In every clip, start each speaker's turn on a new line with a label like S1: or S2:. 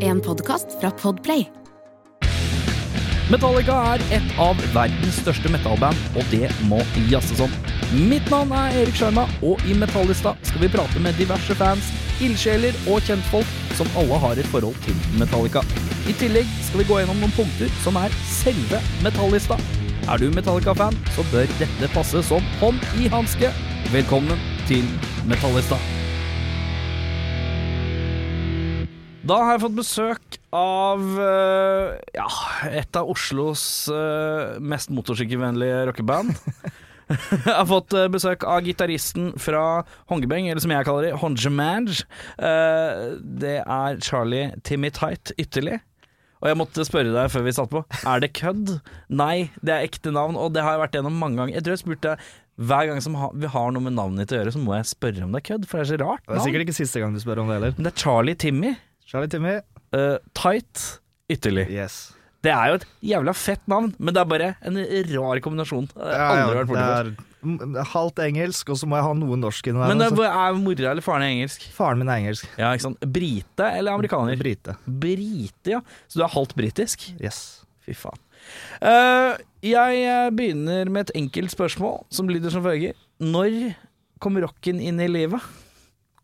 S1: En podkast fra Podplay.
S2: Metallica er et av verdens største metallband, og det må jazzes om. Mitt navn er Erik Sjarma, og i Metallista skal vi prate med diverse fans, ildsjeler og kjentfolk som alle har et forhold til Metallica. I tillegg skal vi gå gjennom noen punkter som er selve Metallista. Er du Metallica-fan, så bør dette passe som hånd i hanske. Velkommen til Metallista. Da har jeg fått besøk av eh, ja, et av Oslos eh, mest motorsykkelvennlige rockeband. jeg har fått eh, besøk av gitaristen fra Hongebeng, eller som jeg kaller det, Hongemange. Eh, det er Charlie Timmy Tight Ytterli. Og jeg måtte spørre deg før vi satte på, er det kødd? Nei, det er ekte navn, og det har jeg vært gjennom mange ganger. Jeg tror jeg spurte deg hver gang som ha, vi har noe med navnet ditt å gjøre, så må jeg spørre om det er kødd, for det er så rart.
S3: Det er
S2: navn.
S3: sikkert ikke siste gang du spør om det heller.
S2: Men det er Charlie Timmy.
S3: Charlie Timmy.
S2: Eh, tight Ytterlig.
S3: Yes.
S2: Det er jo et jævla fett navn, men det er bare en rar kombinasjon. Jeg har aldri vært borti før.
S3: det er halvt engelsk, og så må jeg ha noe norsk inni der.
S2: Men det
S3: også.
S2: er, er mora eller faren engelsk?
S3: Faren min er engelsk.
S2: Ja, ikke sant? Brite eller amerikaner?
S3: Brite.
S2: Brite, ja. Så du er halvt britisk?
S3: Yes.
S2: Fy faen. Eh, jeg eh, begynner med et enkelt spørsmål, som lyder som følger. Når kom rocken inn i livet?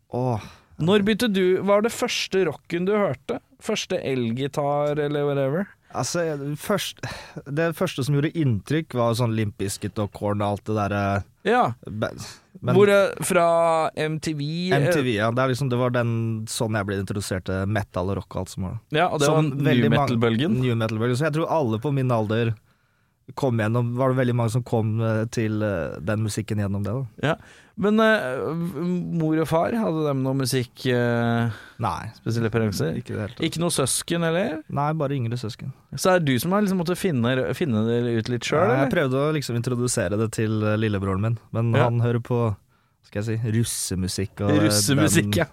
S3: Åh.
S2: Når begynte du Var det første rocken du hørte? Første elgitar eller whatever?
S3: Altså, først, det første som gjorde inntrykk, var jo sånn Limp Bizkit og Corn og alt det derre
S2: Ja.
S3: Men
S2: Hvor, eh, fra MTV? eh,
S3: MTV, ja. Det, er liksom, det var den sånn jeg ble introdusert til metal og rock og alt som var.
S2: Ja, og det
S3: Som
S2: var new
S3: veldig mange-
S2: metal-bølgen.
S3: New metal-bølgen. Så jeg tror alle på min alder kom gjennom Var det veldig mange som kom eh, til eh, den musikken gjennom det, da?
S2: Ja. Men eh, mor og far, hadde de noe musikk eh,
S3: Nei.
S2: Spesielle preferanser?
S3: Ikke i det hele tatt.
S2: Ikke noe søsken, eller?
S3: Nei, bare yngre søsken.
S2: Så er det du som har liksom måttet finne, finne det ut litt sjøl,
S3: Nei, jeg
S2: eller?
S3: prøvde å liksom introdusere det til eh, lillebroren min, men
S2: Ja.
S3: han hører på skal jeg si, russemusikk. og, eh,
S2: Russemusikk, ja.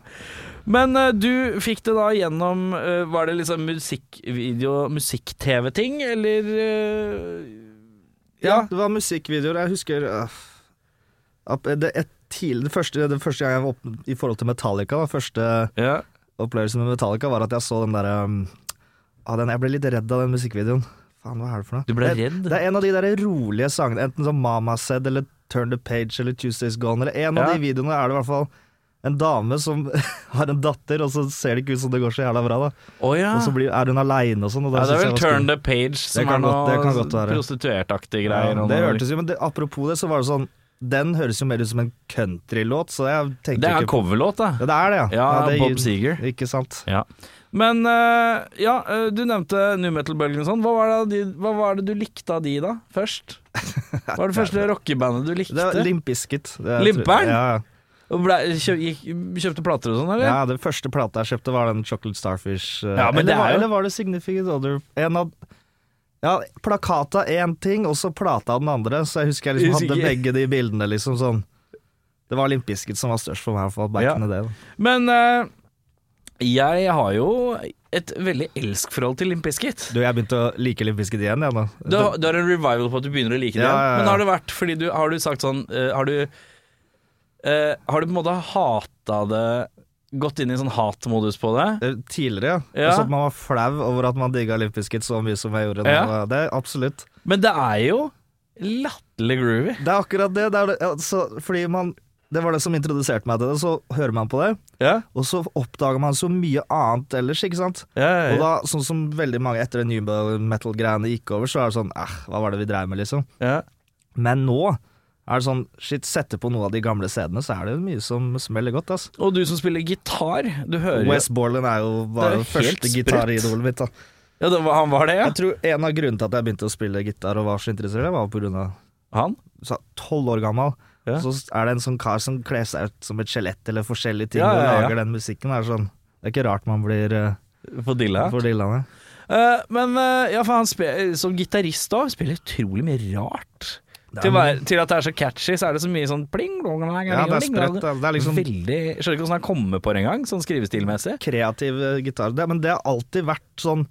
S2: Men eh, du fikk det da gjennom eh, Var det liksom musikkvideo, musikk-TV-ting, eller eh,
S3: Den, ja, det var musikkvideoer. Jeg husker øh, at det, et tidlig, det, første, det første gang jeg var opp, i forhold til Metallica, da, første
S2: ja.
S3: opplevelsen med Metallica, var at jeg så den derre um, ah, den- Jeg ble litt redd av den musikkvideoen. Faen, hva er det for noe?
S2: Du ble
S3: det,
S2: redd?
S3: Det er en av de der rolige sangene, enten som Mama Said eller Turn the Page eller Tuesday's Gone, eller en
S2: Ja.
S3: av de videoene er det i hvert fall en dame som har en datter, og så ser det ikke ut som det går så jævla bra, da.
S2: Å ja.
S3: Og så blir, er hun aleine og sånn. Og
S2: Ah. ja! Det er vel Turn
S3: turn
S2: the Page som
S3: kan
S2: er
S3: godt- det kan godt
S2: noe
S3: være.
S2: prostituertaktige greier.
S3: ja,
S2: og
S3: Det
S2: noe-
S3: hørtes jo, men det, apropos det, så var det sånn Den høres jo mer ut som en countrylåt, så jeg tenker
S2: det er en
S3: ikke på-
S2: coverlåt, da.
S3: Ja, det er det, ja.
S2: Ja,
S3: det
S2: Bob
S3: gir-
S2: Seger.
S3: Ikke sant.
S2: Ja. Men eh, ja, eh, du nevnte new metal-bølgen og sånn. Hva var, det, av de- hva var det du likte av de, da? Først? Hva var det første rockebandet du likte?
S3: Det var Limp Bizkit. Det-
S2: Limperen?
S3: Ja,
S2: Og ble, kjø, gikk, kjøpte plater og sånn, eller?
S3: ja, den første plata jeg kjøpte, var den Chocolate Starfish. eh,
S2: Ja, men det
S3: eller,
S2: er
S3: var,
S2: jo-
S3: eller var det Significant Other? En av ja, plakata én ting, og så plata den andre. Så jeg husker jeg liksom hadde
S2: Usikker.
S3: begge de bildene, liksom sånn. Det var Limp Bizkit som var størst for meg, i hvert fall back
S2: Ja.
S3: in the day. da.
S2: Men eh, jeg har jo et veldig elsk-forhold til Limp Bizkit.
S3: Du, jeg begynte å like Limp Bizkit igjen, jeg nå.
S2: Du, har- du har en revival på at du begynner å like det
S3: Ja,
S2: igjen.
S3: ja, ja.
S2: Men har det vært fordi du Har du sagt sånn eh, Har du eh, Har du på en måte hata det Gått inn i sånn hatmodus på det?
S3: Eh, Tidligere, ja.
S2: Ja.
S3: Altså at man var flau over at man digga Limp Bizkit så mye som jeg gjorde. nå.
S2: Ja.
S3: Det er absolutt.
S2: Men det er jo latterlig groovy.
S3: Det er akkurat det. det, er det ja, så- fordi man Det var det som introduserte meg til det. Så hører man på det,
S2: Ja,
S3: og så oppdager man så mye annet ellers, ikke sant.
S2: ja, ja,
S3: Og da, sånn som veldig mange etter det new metal-greiene gikk over, så er det sånn eh, hva var det vi dreiv med, liksom.
S2: ja.
S3: Men nå er det sånn shit, sette på noen av de gamle CD-ene, så er det jo mye som smeller godt, ass.
S2: Og du som spiller gitar, du hører jo
S3: West Borland er jo
S2: Det er
S3: bare
S2: jo helt
S3: første
S2: sprøtt.
S3: gitaridolet mitt, da.
S2: Ja, det var, han var det, ja?
S3: Jeg tror en av grunnene til at jeg begynte å spille gitar og var så interessert, det var på grunn av
S2: Han?
S3: så tolv år gammel,
S2: Ja.
S3: så er det en sånn kar som kler seg ut som et skjelett eller forskjellige ting
S2: Ja, ja, ja.
S3: og lager den musikken. Er sånn, det er ikke rart man blir uh,
S2: På Dilla?
S3: for dillende.
S2: Eh, men eh, ja, for han spe- som gitarist da, spiller utrolig mye rart. Til, å være- til at det er så catchy, så er det så mye sånn pling, blong, blong, blong,
S3: Ja, det er
S2: blong,
S3: sprøtt.
S2: blong.
S3: da. Det er liksom
S2: Veldig jeg Skjønner ikke hvordan han kommer på det engang, sånn skrivestilmessig.
S3: kreativ eh, gitar. Det, men det har alltid vært sånn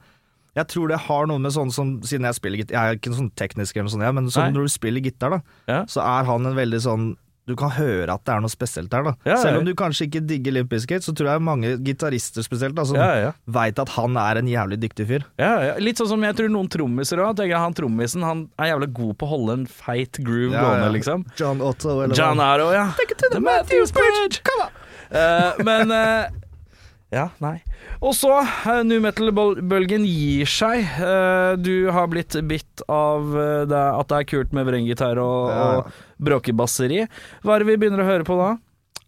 S3: Jeg tror det har noe med sånn som Siden jeg spiller gitar Jeg er ikke sånn teknisk eller noe sånt, jeg, men sånn
S2: Nei.
S3: når du spiller gitar, da,
S2: Ja.
S3: så er han en veldig sånn du du kan høre at det er noe spesielt der, da.
S2: Ja, ja.
S3: Selv om du kanskje ikke digger Limp Bizkit, så tror jeg mange gitarister spesielt da, som
S2: Ja, ja.
S3: veit at han er en jævlig dyktig fyr.
S2: Ja, ja. Litt sånn som jeg tror noen trommiser òg. Han trommisen han er jævla god på å holde en feit groove
S3: Ja,
S2: gående,
S3: ja.
S2: liksom.
S3: John Otto, eller
S2: John
S3: hva?
S2: Arrow, ja. The Matthews Bridge! Eh, men eh, Ja, nei. Og så, eh, new metal-bølgen gir seg. Eh, du har blitt bitt av eh, det, at det er kult med vrenggitar og,
S3: Ja.
S2: og bråkebasseri. Hva er det vi begynner å høre på da?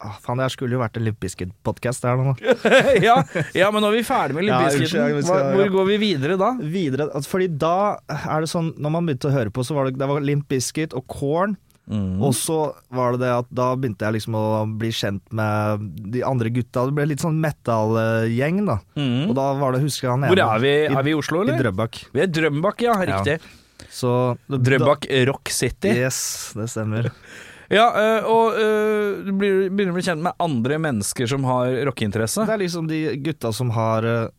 S3: Ah, faen, det her skulle jo vært en Limp Bizkit-podkast der nå.
S2: ja, ja, men nå er vi ferdig med
S3: Ja,
S2: Limbiskiten.
S3: unnskyld, jeg skal-
S2: Hva-
S3: ja.
S2: Hvor går vi videre da?
S3: Videre, altså, fordi da er det sånn, når man begynte å høre på, så var det, det var Limp Bizkit og Corn.
S2: Mm.
S3: Og så var det det at da begynte jeg liksom å bli kjent med de andre gutta. Det ble litt sånn metal-gjeng, da.
S2: Mhm.
S3: Og da var det, husker jeg han
S2: Hvor er vi? Er vi i Oslo,
S3: I
S2: eller?
S3: Drøbak.
S2: Vi er i Drømbak, ja. Riktig.
S3: Så
S2: Drøbak Rock
S3: Da,
S2: City.
S3: yes, det stemmer.
S2: Ja, øh, og øh, du blir- begynner å bli kjent med andre mennesker som har rockeinteresse.
S3: Det er liksom de gutta som har eh,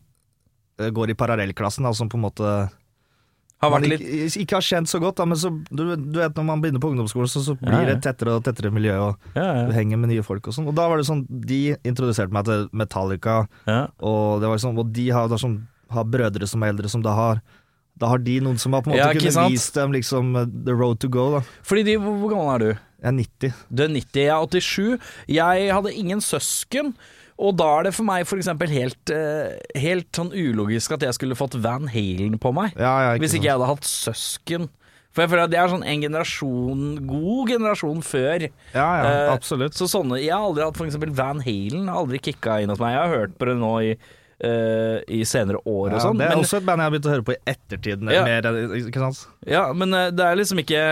S3: Går i parallellklassen, da, som på en måte
S2: Har
S3: man
S2: vært
S3: ikke,
S2: litt
S3: ikke har kjent så godt, da, men så du, du vet når man begynner på ungdomsskolen, så, så
S2: Ja,
S3: blir
S2: ja.
S3: det tettere og tettere miljø, og
S2: ja,
S3: du
S2: ja,
S3: henger med nye folk og sånn. Og da var det sånn De introduserte meg til Metallica,
S2: ja.
S3: og det var liksom Og de har, da som, har brødre som er eldre, som da har Da har de noen som har på en måte
S2: Ja, ikke
S3: kunne
S2: sant?
S3: vist dem liksom eh, the road to go, da.
S2: Fordi de, hvor hvor gammel er du?
S3: Jeg er 90.
S2: Du er 90, jeg er 87. Jeg hadde ingen søsken. Og da er det for meg for eksempel helt, eh, helt sånn ulogisk at jeg skulle fått Van Halen på meg.
S3: Ja, ja,
S2: Hvis ikke jeg hadde hatt søsken. For jeg føler at det er sånn en generasjon, god generasjon før.
S3: sant? Ja, ja,
S2: Eh,
S3: absolutt.
S2: Så sånne, Jeg har aldri hatt for eksempel Van Halen, har aldri kicka inn hos meg. Jeg har hørt på det nå i, eh, i senere år og
S3: Ja,
S2: sånn.
S3: det er
S2: men,
S3: også et band jeg har begynt å høre på i ettertid.
S2: Ja.
S3: Mer, enn- ikke sant?
S2: ja, men eh, det er liksom ikke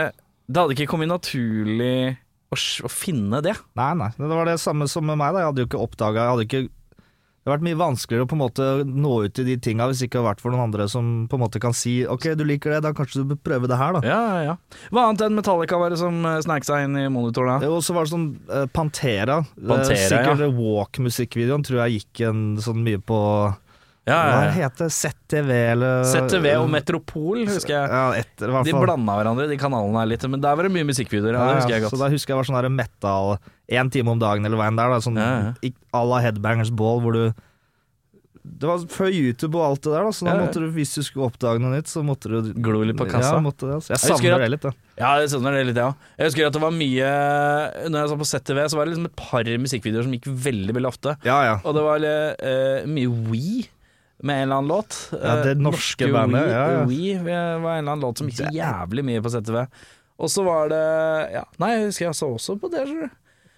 S2: Det hadde ikke kommet naturlig å, s- å finne det.
S3: Nei, nei. Det var det samme som med meg. da Jeg hadde jo ikke oppdaga Det hadde vært mye vanskeligere å på en måte nå ut til de tinga hvis det ikke hadde vært for noen andre som på en måte kan si OK, du liker det, da kanskje du bør prøve det her, da.
S2: Ja, ja, ja. Hva annet enn Metallica var det som eh, snek seg inn i monitoren da?
S3: Og så var det sånn eh, Pantera. Eh,
S2: Pantera,
S3: Sikkert Walk-musikkvideoen tror jeg gikk en sånn mye på
S2: Ja,
S3: Hva
S2: ja, ja.
S3: heter det? ZTV, eller Eh,
S2: ZTV og Metropol, husker jeg.
S3: Ja, etter, i hvert
S2: De
S3: fall.
S2: blanda hverandre, de kanalene her litt. Men der var det mye musikkvideoer. Ja, det husker jeg
S3: Så
S2: godt.
S3: da husker jeg var sånn der metal én time om dagen eller hva enn det er. da, Sånn
S2: Ja, ja.
S3: ikk- à la Headbangers Ball, hvor du Det var før YouTube og alt det der, da, så
S2: Ja,
S3: da
S2: ja.
S3: måtte du, hvis du skulle oppdage noe nytt, så måtte du
S2: Glo litt på kassa.
S3: Ja, måtte, det, altså. Jeg
S2: Jeg husker
S3: savner
S2: at-
S3: det litt, da.
S2: Ja, jeg skjønner det litt, jeg òg. Jeg husker at det var mye Når jeg så på ZTV, så var det liksom et par musikkvideoer som gikk veldig veldig ofte.
S3: Ja, ja.
S2: Og det var eh, mye We med en eller annen låt.
S3: Ja, det
S2: Eh,
S3: norske bandet,
S2: We,
S3: ja, ja.
S2: We eh, var en eller annen låt som gikk så jævlig mye på ZTV. Og så var det ja, Nei, jeg husker jeg så også på det. skjønner du.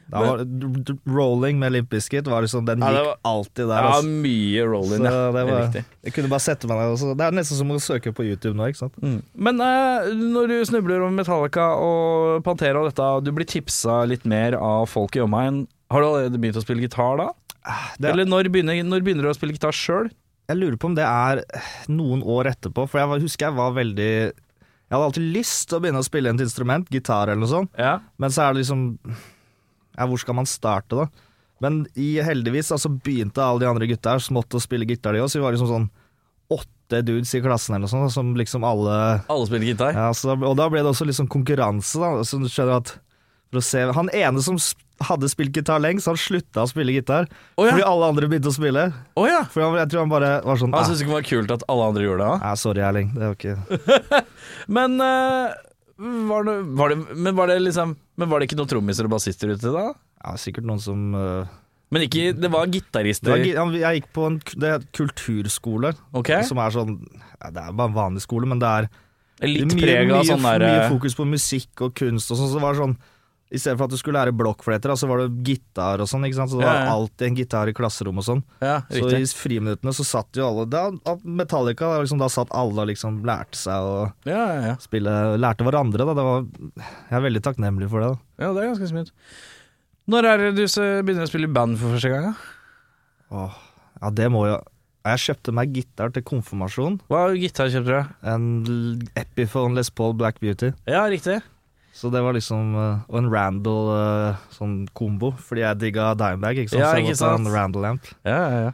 S3: Da var, d- d- rolling med Limp Bizkit var liksom Den
S2: Ja, det
S3: gikk alltid der,
S2: Ja,
S3: altså.
S2: mye
S3: Så
S2: roll-in,
S3: det
S2: ja. Det er
S3: var,
S2: riktig.
S3: jeg kunne bare sette meg ned og så- Det er nesten som å søke på YouTube nå, ikke sant.
S2: Men eh, når du snubler over Metallica og Pantera og dette, og du blir tipsa litt mer av folk i omegn, har du allerede begynt å spille gitar da?
S3: Ah, det er-
S2: Eller når begynner, når begynner du å spille gitar sjøl?
S3: Jeg lurer på om det er eh, noen år etterpå, for jeg var, husker jeg var veldig Jeg hadde alltid lyst til å begynne å spille et instrument, gitar eller noe sånt,
S2: Ja.
S3: men så er det liksom Ja, hvor skal man starte, da? Men i, heldigvis da, så begynte alle de andre gutta her smått å spille gitar, de òg, så vi var liksom sånn åtte dudes i klassen eller noe sånt, da, som liksom alle
S2: Alle spiller gitar?
S3: ja, så, da- Og da ble det også litt sånn konkurranse, da, så du skjønner at for å se, Han ene som sp- hadde spilt gitar lengst, han slutta å spille gitar
S2: Å ja.
S3: fordi alle andre begynte å spille.
S2: Å ja!
S3: For han, jeg tror han bare var sånn
S2: Han
S3: "Ah,
S2: syntes ikke det var kult at alle andre gjorde det. da.
S3: Nei, sorry, Erling. Det var ikke
S2: Men eh, var det, var det, men var det liksom Men var det ikke noen trommiser og bassister ute da?
S3: ja, sikkert noen som øh,
S2: Men ikke, det var
S3: det var,
S2: gitarister?
S3: gi- ja, Jeg gikk på en k- det heter kulturskole,
S2: Ok?
S3: som er sånn ja, Det er bare en vanlig skole, men det er
S2: Litt
S3: mye,
S2: preg av
S3: mye,
S2: sånn
S3: f-
S2: der
S3: mye fokus på musikk og kunst og sånn. Så det var sånn I stedet for at du skulle lære blokkfløyter, da, så var det gitar og sånn. Ikke sant? Så det
S2: Ja,
S3: var
S2: ja.
S3: alltid en gitar i klasserommet og sånn.
S2: Ja,
S3: Så
S2: riktig.
S3: i friminuttene så satt jo alle da, Metallica, da, liksom, da satt alle og liksom lærte seg å
S2: Ja, ja, ja.
S3: spille Lærte hverandre, da. Det var, jeg er veldig takknemlig for det. da
S2: ja, det er ganske smooth. Når er det du så begynner å spille i band for første gang? da?
S3: Åh, ja, det må jo Jeg kjøpte meg gitar til konfirmasjon.
S2: Hva gitar kjøpte du?
S3: En L- Epiphone Les Paul Black Beauty.
S2: Ja, riktig.
S3: Så det var liksom eh, Og en Randall eh, sånn kombo, fordi jeg digga Dimebag, ikke sant.
S2: Ja,
S3: så jeg
S2: ikke
S3: måtte ha
S2: sant.
S3: en Randall amp.
S2: Ja, ja, ja.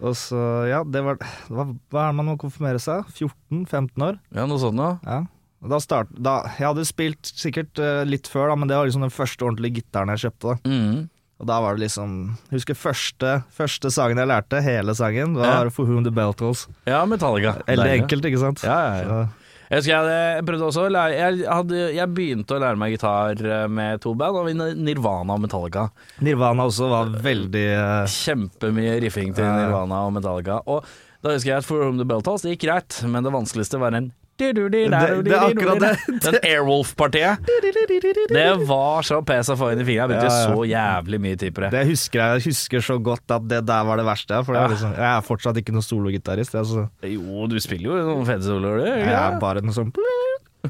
S3: Og så, ja, det var, det var Hva er det man må konfirmere seg? 14-15 år?
S2: ja noe sånt noe.
S3: Ja. Og Da start, da, jeg hadde spilt sikkert eh, litt før, da, men det var liksom den første ordentlige gitaren jeg kjøpte. Da.
S2: Mm.
S3: Og da var det liksom jeg Husker første, første sangen jeg lærte, hele sangen, var
S2: Ja.
S3: For Whom The Bell Tolls.
S2: Ja, Metallica.
S3: Veldig
S2: Deilig.
S3: enkelt, ikke sant?
S2: Ja, ja, ja.
S3: Så-
S2: Jeg husker jeg, jeg prøvde også å lære jeg, hadde, jeg begynte å lære meg gitar eh, med to band, og vi- Nirvana og Metallica.
S3: Nirvana også var veldig eh,
S2: Kjempemye riffing til
S3: Ja, ja.
S2: Nirvana og Metallica. Og da husker jeg at For Whom The Bell Tolls, det gikk greit, men det vanskeligste var en det
S3: det er akkurat det.
S2: Den Airwolf-partiet. Det var så pes å få inn i fingra. Jeg brukte
S3: Ja, ja.
S2: så jævlig mye tid på det.
S3: Det husker jeg, jeg husker så godt at det der var det verste. For det
S2: Ja.
S3: var liksom, jeg er fortsatt ikke noen sologitarist. Jeg, så,
S2: Jo, du spiller jo noen fete soloer, du.
S3: jeg er bare noe sånn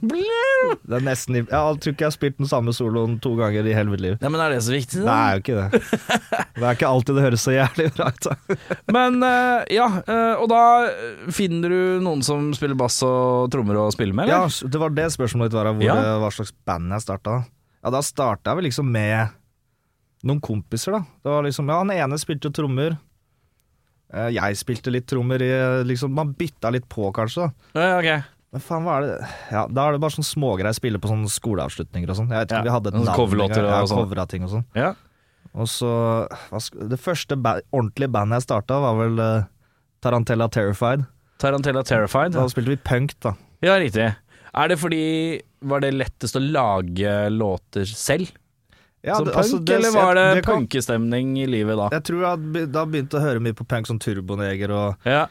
S3: det er nesten, i- Jeg tror ikke jeg har spilt den samme soloen to ganger i hele mitt liv.
S2: Nei, men er det så viktig?
S3: Det
S2: da?
S3: er jo ikke det. Det er ikke alltid det høres så jævlig bra ut. da.
S2: Men eh, ja, eh, og da finner du noen som spiller bass og trommer og spiller med,
S3: Ja,
S2: eller?
S3: det var det spørsmålet ditt var, hvor, eh,
S2: Ja.
S3: hva slags band jeg starta. Ja, da starta jeg vel liksom med noen kompiser, da. Det var liksom, ja, Han ene spilte jo trommer. Eh, Jeg spilte litt trommer i liksom, Man bytta litt på, kanskje. da.
S2: Ja, ok.
S3: Men faen, hva er det Ja, Da er det bare sånn smågreier jeg spiller på sånne skoleavslutninger og sånn. Jeg vet ikke
S2: Ja,
S3: om vi hadde et
S2: sånn
S3: navn
S2: coverlåter
S3: engang.
S2: og
S3: ja,
S2: sånn.
S3: covra ting og sånn.
S2: Ja.
S3: Og så hva sk- Det første ba ordentlige bandet jeg starta, var vel eh, Tarantella Terrified.
S2: Tarantella Terrified.
S3: Da spilte vi punk, da.
S2: Ja, riktig. Er det fordi Var det lettest å lage låter selv?
S3: Ja,
S2: Som
S3: det-
S2: punk,
S3: altså, det-
S2: eller var det,
S3: jeg- det kan-
S2: punkestemning i livet da?
S3: Jeg tror jeg hadde be- da begynte jeg å høre mye på punk som Turboneger og eh,
S2: Ja.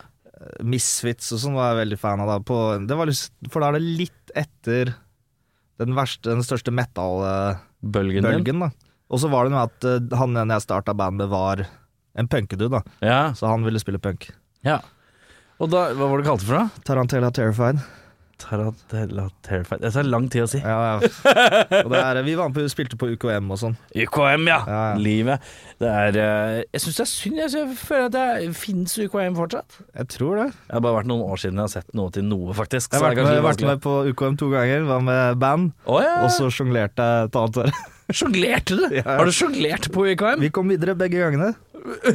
S3: Misfits og sånn, var jeg veldig fan av da. På, det var lyst, for da er det litt etter den, verste, den største metal-bølgen,
S2: Bølgen, din?
S3: da. Og så var det noe at eh, han ene jeg starta bandet, var en punkedude, da.
S2: Ja.
S3: Så han ville spille punk.
S2: ja. Og da, hva var det du kalte det for noe?
S3: Tarantella Terrified.
S2: Tarantella Terrified Det tar lang tid å si.
S3: Ja, ja. Og det er, eh, vi var med på, spilte på UKM og sånn.
S2: UKM, ja.
S3: Ja, ja.
S2: Livet. Det er eh, Jeg syns det er synd. Jeg synes- jeg føler at det fins UKM fortsatt.
S3: Jeg tror det.
S2: Det har bare vært noen år siden jeg har sett noe til noe, faktisk.
S3: Jeg
S2: så
S3: har
S2: det er
S3: vært med,
S2: kanskje
S3: vært
S2: litt
S3: med på UKM to ganger, var med band,
S2: vanskelig. Å ja.
S3: og så sjonglerte jeg et annet år.
S2: Sjonglerte du?
S3: Ja.
S2: Har du sjonglert på UKM?
S3: Vi kom videre begge gangene.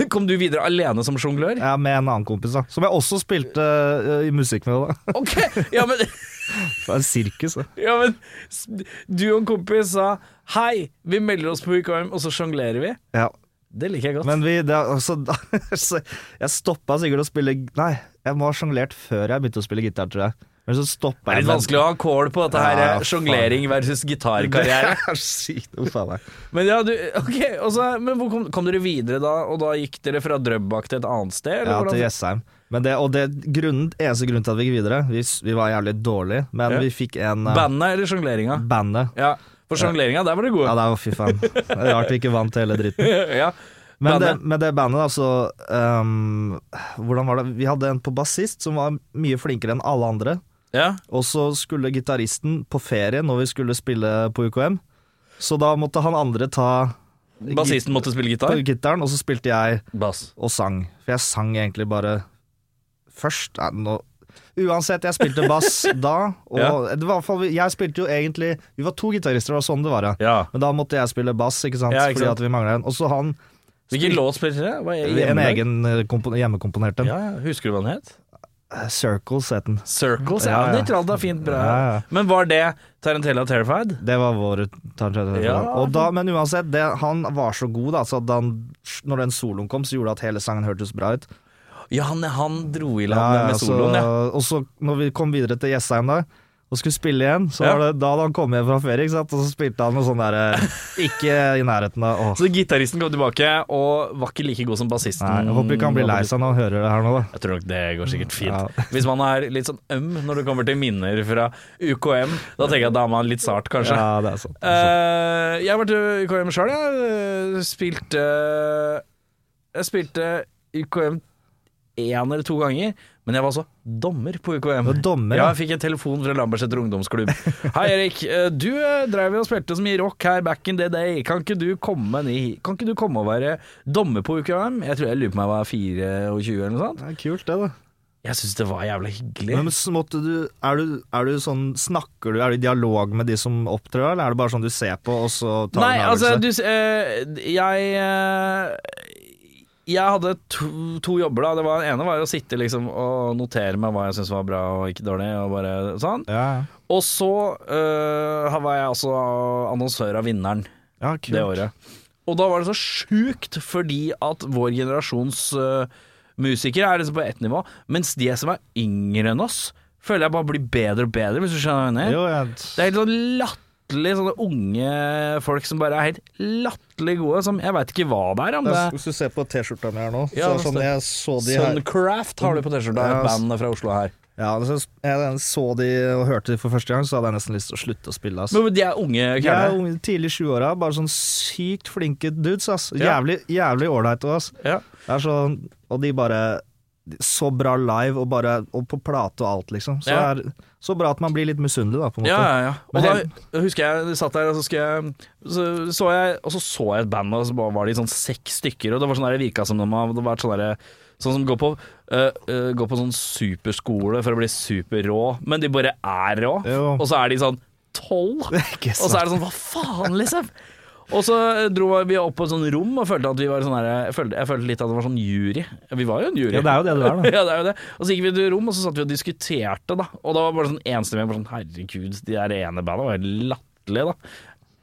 S2: Kom du videre alene som sjonglør?
S3: Ja, med en annen kompis, da. Som jeg også spilte eh, i musikk med. da
S2: Ok, ja men,
S3: Det var en sirkus. da.
S2: ja, men s- Du og en kompis sa Hei, vi melder oss på UKM, og så sjonglerer vi.
S3: Ja.
S2: Det liker jeg godt.
S3: Men vi det, er altså, da, så Jeg stoppa sikkert å spille Nei, jeg må ha sjonglert før jeg begynte å spille gitar, tror jeg. Men så
S2: det er
S3: stoppa jeg
S2: litt
S3: med-
S2: vanskelig å ha kål på dette her.
S3: Ja,
S2: eh, Sjonglering versus gitarkarriere.
S3: Det er sykt. Uff a meg.
S2: Men ja, du, ok, og så, men hvor kom, kom dere videre da? Og da gikk dere fra Drøbak til et annet sted? Eller
S3: Ja,
S2: hvordan-
S3: til Jessheim. Men det, og det grunnen, eneste grunnen til at vi gikk videre Vi, s- vi var jævlig dårlige, men
S2: Ja.
S3: vi fikk en eh,
S2: Bandet eller sjongleringa?
S3: Bandet.
S2: Ja, for sjongleringa, der var dere
S3: Ja,
S2: gode.
S3: det er jo fy faen. Det er Rart vi ikke vant hele dritten.
S2: Ja,
S3: Men det,
S2: Bandet.
S3: med det bandet, da, så ehm, Hvordan var det Vi hadde en på bassist som var mye flinkere enn alle andre.
S2: ja.
S3: Og så skulle gitaristen på ferie når vi skulle spille på UKM, så da måtte han andre ta
S2: Bassisten måtte spille
S3: git-
S2: gitar.
S3: på gitaren, og så spilte jeg
S2: Bass.
S3: og sang. For jeg sang egentlig bare først. Nei, nå Uansett, jeg spilte bass da, og
S2: Ja.
S3: det var i hvert fall Jeg spilte jo egentlig Vi var to gitarister, det var sånn det var, ja.
S2: Ja.
S3: Men da måtte jeg spille bass, ikke sant?
S2: Ja, ikke
S3: fordi
S2: sant.
S3: at vi mangla en. Og så han
S2: Hvilken låt spilte dere? Var jeg
S3: en
S2: hjemme?
S3: egen eh, kompo- hjemmekomponert en.
S2: Ja, ja. Husker du hva den het?
S3: Circles Eh, het den.
S2: Circles. Ja,
S3: Ja, ja.
S2: de tralda fint bra.
S3: Ja, ja.
S2: Men var det Tarantella Terrified?
S3: Det var vår tannkjøtt.
S2: Ja.
S3: Og da, men uansett, det, han var så god, da, så at han, når den soloen kom, så gjorde det at hele sangen hørtes bra ut.
S2: Ja, han, han dro i land
S3: Ja, altså- ja,
S2: med
S3: så-
S2: soloen, ja.
S3: Og så når vi kom videre til Jessheim da, og skulle spille igjen, så
S2: Ja.
S3: var det da hadde han kom hjem fra ferie, ikke sant? og så spilte han noe sånn derre Ikke i nærheten av Åh,
S2: Så gitaristen kom tilbake og var ikke like god som bassisten.
S3: nei, jeg håper ikke han blir lei seg når han hører det her nå, da.
S2: Jeg tror nok det går sikkert fint.
S3: Ja.
S2: Hvis man er litt sånn øm når det kommer til minner fra UKM, da tenker jeg at da er man litt sart, kanskje.
S3: Ja, det er sant. Det er sant.
S2: Eh, jeg har vært i UKM sjøl, jeg. Spilte Jeg spilte UKM én eller to ganger, men jeg var også dommer på UKM.
S3: Du var dommer,
S2: ja,
S3: ja.
S2: jeg fikk en telefon fra Lambertseter ungdomsklubb. Hei, Erik. eh, Du eh, drev jo og spilte så mye rock her back in the day. Kan ikke du komme, ni, kan ikke du komme og være dommer på UKM? Jeg tror jeg lurer på meg var 24 eller noe sånt.
S3: Det er kult, det, da.
S2: Jeg syns det var jævlig hyggelig.
S3: Men så måtte du er, du er du sånn Snakker du, er du i dialog med de som opptrer, eller er det bare sånn du ser på, og så tar du
S2: Nei,
S3: en
S2: altså
S3: avgjørelse?
S2: du, s- eh, Jeg eh, jeg hadde to, to jobber da. Det var, den ene var å sitte liksom, og notere meg hva jeg syntes var bra og ikke dårlig. Og bare sånn
S3: Ja,
S2: Og så øh, var jeg altså annonsør av vinneren
S3: ja kult.
S2: det året. Og da var det så sjukt, fordi at vår generasjons øh, musikere er liksom på ett nivå, mens de som er yngre enn oss, føler jeg bare blir bedre og bedre, hvis du skjønner hva jeg mener.
S3: Jo, jeg,
S2: Det er helt sånn latterlig sånne unge folk som bare er helt latterlig gode, som jeg veit ikke hva det er. Om det er
S3: hvis du ser på T-skjorta mi her nå,
S2: Ja,
S3: så
S2: det
S3: er det sånn
S2: står-
S3: jeg så de her
S2: Suncraft har du på T-skjorta,
S3: Ja,
S2: et
S3: ass.
S2: band fra Oslo her.
S3: Ja, altså, jeg så de og hørte de for første gang, så hadde jeg nesten lyst til å slutte å spille. ass.
S2: Men de er unge
S3: Jeg er
S2: kjerner.
S3: unge, tidlig i 20-åra, bare sånn sykt flinke dudes, ass.
S2: Ja.
S3: Jævlig, jævlig ålreite, ass.
S2: Ja.
S3: Det er sånn, og de bare Så bra live, og bare og på plate og alt, liksom. Så,
S2: Ja.
S3: er, så bra at man blir litt misunnelig, da, på en måte.
S2: Ja, ja, ja. Og
S3: Men
S2: da
S3: helt-
S2: husker jeg jeg satt der, og så, skulle jeg, så, så jeg, og så så jeg et band, og så bare var de sånn seks stykker, og det var sånn der det virka som de hadde vært sånn der Sånn som går på, øh, øh, går på sånn superskole for å bli superrå, men de bare er rå.
S3: Jo.
S2: Og så er de sånn tolv.
S3: Ikke
S2: Og så
S3: sant.
S2: er det sånn, hva faen, liksom? Og så eh, dro vi opp på et sånt rom og følte at vi var sånn her jeg følte, jeg følte litt at det var sånn jury. Vi var jo en jury.
S3: Ja, det er jo det du er, da.
S2: Ja, det er jo det. Og så gikk vi til rom, og så satt vi og diskuterte, da. Og da var bare sånn enstemmig bare sånn Herregud, de der ene banda var helt latterlige, da.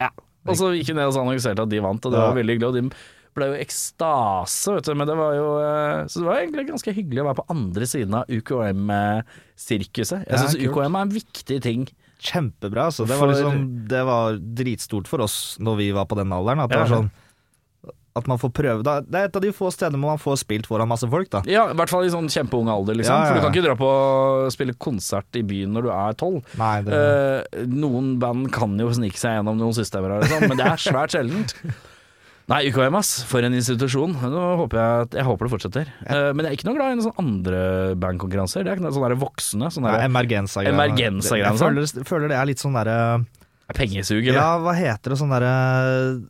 S2: Ja. Og så gikk vi ned og så annonserte at de vant, og det
S3: Ja.
S2: var veldig hyggelig. Og de ble jo ekstase, vet du. Men det var jo eh, Så det var egentlig ganske hyggelig å være på andre siden av UKM-sirkuset. eh, Jeg
S3: Ja,
S2: syns
S3: kult.
S2: UKM er en viktig ting.
S3: Kjempebra, altså. Det var,
S2: For-
S3: liksom, det var dritstort for oss når vi var på den alderen, at det
S2: Ja.
S3: var sånn at man får prøve da. Det er et av de få stedene hvor man får spilt foran masse folk, da.
S2: Ja, i hvert fall i sånn kjempeung alder, liksom.
S3: Ja, ja,
S2: For du
S3: ja.
S2: kan ikke dra på å spille konsert i byen når du er tolv.
S3: Nei, det,
S2: Eh, noen band kan jo snike seg gjennom noen systemer, her, liksom, men det er svært sjeldent. Nei, UKM, ass. For en institusjon. Nå håper jeg, at- jeg håper det fortsetter. Eh, men jeg er ikke noe glad i noen sånne andre bandkonkurranser. Det er ikke noe sånne der voksne. Sånne
S3: Nei,
S2: der
S3: Emergensa-greiene.
S2: Emergensa-greiene,
S3: Jeg føler, føler det er litt sånn derre
S2: pengesug, eller?
S3: Ja, hva heter det sånn derre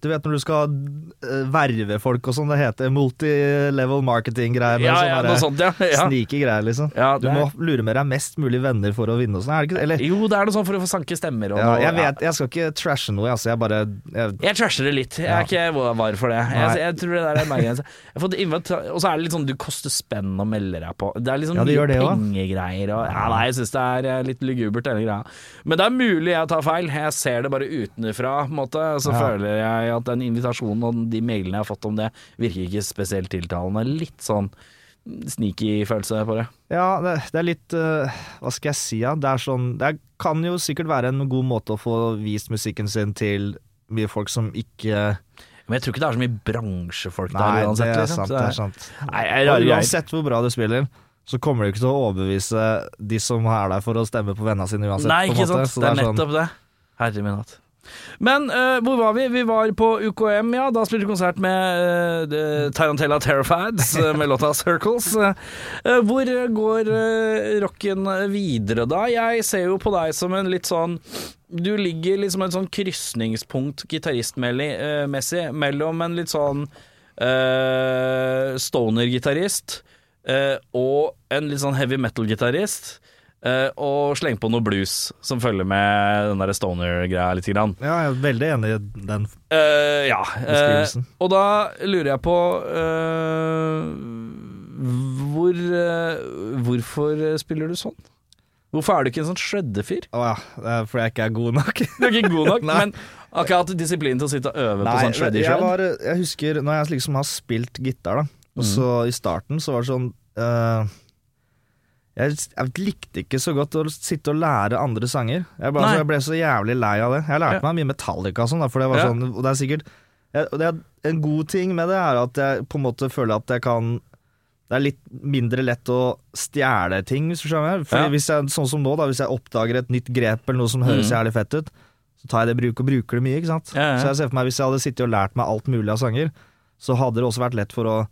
S3: Du vet når du skal eh, verve folk og sånn, det heter multilevel marketing-greier.
S2: ja, ja, noe sånt, ja. ja.
S3: Snike greier, liksom.
S2: ja
S3: Du
S2: det
S3: må
S2: er,
S3: lure med deg mest mulig venner for å vinne og sånn, er det ikke Eller
S2: jo, det er noe sånt for å få sanke stemmer og
S3: ja,
S2: noe.
S3: jeg vet, jeg skal ikke trashe noe, altså. Jeg bare jeg,
S2: Jeg trasher det litt. Jeg er ikke var for det. Jeg,
S3: Nei.
S2: jeg tror det der er meg. Jeg har fått invita- Og så er det litt sånn du koster spenn og melder deg på. Det er liksom
S3: Ja, det
S2: mye
S3: gjør det også.
S2: pengegreier og ja, Nei, jeg syns det er eh, litt lugubert, hele greia. Men det er mulig jeg tar feil. Jeg ser det bare utenfra, på en måte. Så
S3: Ja.
S2: føler jeg at den invitasjonen og de mailene jeg har fått om det, virker ikke spesielt tiltalende. Litt sånn sneaky følelse på det.
S3: Ja, det, det er litt eh, Hva skal jeg si, ja? Det er sånn Det er- kan jo sikkert være en god måte å få vist musikken sin til mye folk som ikke
S2: Men jeg tror ikke det er så mye bransjefolk
S3: Nei,
S2: der uansett.
S3: det er
S2: liksom.
S3: sant.
S2: Så
S3: Det er sant.
S2: Nei, jeg er
S3: Og
S2: rare greier.
S3: uansett hvor bra du spiller, så kommer du ikke til å overbevise de som er der for å stemme på vennene sine uansett.
S2: Nei,
S3: på en
S2: ikke sant.
S3: måte. Så
S2: det er
S3: sånn-
S2: nettopp det. Herre min hatt. Men eh, hvor var vi? Vi var på UKM, ja. Da spilte vi konsert med eh, The Tarantella Terrifieds eh, med låta 'Circles'. Eh, eh, hvor eh, går eh, rocken videre, da? Jeg ser jo på deg som en litt sånn Du ligger liksom et sånn krysningspunkt gitaristmessig mellom en litt sånn eh, stoner-gitarist eh, og en litt sånn heavy metal-gitarist. eh, og sleng på noe blues som følger med den der stoner-greia lite grann.
S3: Ja, jeg er veldig enig i den.
S2: Eh, ja. eh,
S3: Beskrivelsen.
S2: og da lurer jeg på eh, hvor, eh, Hvorfor spiller du sånn? Hvorfor er du ikke en sånn shredde-fyr?
S3: Å ja, det er fordi jeg ikke er god nok.
S2: Du er ikke god nok,
S3: Nei.
S2: men har ikke hatt disiplin til å sitte og øve på sånn shreddy
S3: jeg,
S2: shred.
S3: var, jeg husker når jeg liksom har spilt gitar, da, og så
S2: Mhm.
S3: i starten så var det sånn eh, jeg, jeg likte ikke så godt å sitte og lære andre sanger. Jeg, bare,
S2: Nei.
S3: så jeg ble så jævlig lei av det. Jeg lærte
S2: Ja.
S3: meg mye Metallica og sånn, da, for det var
S2: Ja.
S3: sånn Og det er sikkert jeg, og det er, En god ting med det er at jeg på en måte føler at jeg kan det er litt mindre lett å stjele ting, hvis du skjønner. Fordi
S2: Ja.
S3: hvis jeg, sånn som nå, da, hvis jeg oppdager et nytt grep eller noe som høres
S2: Mhm.
S3: jævlig fett ut, så tar jeg det i bruk og bruker det mye, ikke sant.
S2: Ja, ja.
S3: Så jeg ser for meg hvis jeg hadde sittet og lært meg alt mulig av sanger, så hadde det også vært lett for å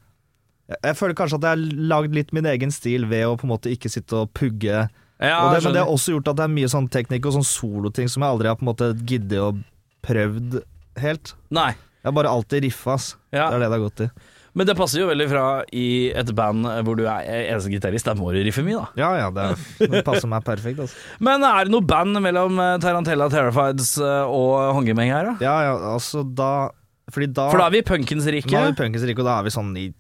S3: Jeg, jeg føler kanskje at jeg har lagd litt min egen stil ved å på en måte ikke sitte og pugge.
S2: Ja,
S3: og det,
S2: jeg
S3: men det har
S2: skjønner.
S3: også gjort at det er mye sånn teknikk og sånn soloting som jeg aldri har på en måte giddet å prøvd helt.
S2: Nei.
S3: Jeg har bare alltid riffa, ass.
S2: Ja.
S3: Det er det det har gått i.
S2: Men det passer jo veldig fra i et band hvor du er eneste gitarist. Der må du riffe mye, da.
S3: Ja ja, det, er- det passer meg perfekt, altså.
S2: Men er det noe band mellom eh, Tarantella Terrifieds eh, og Hongemeng her, da?
S3: Ja, ja, altså da Fordi da,
S2: For da er vi i punkens rike.
S3: nå er vi punkens rike, og da er vi sånn i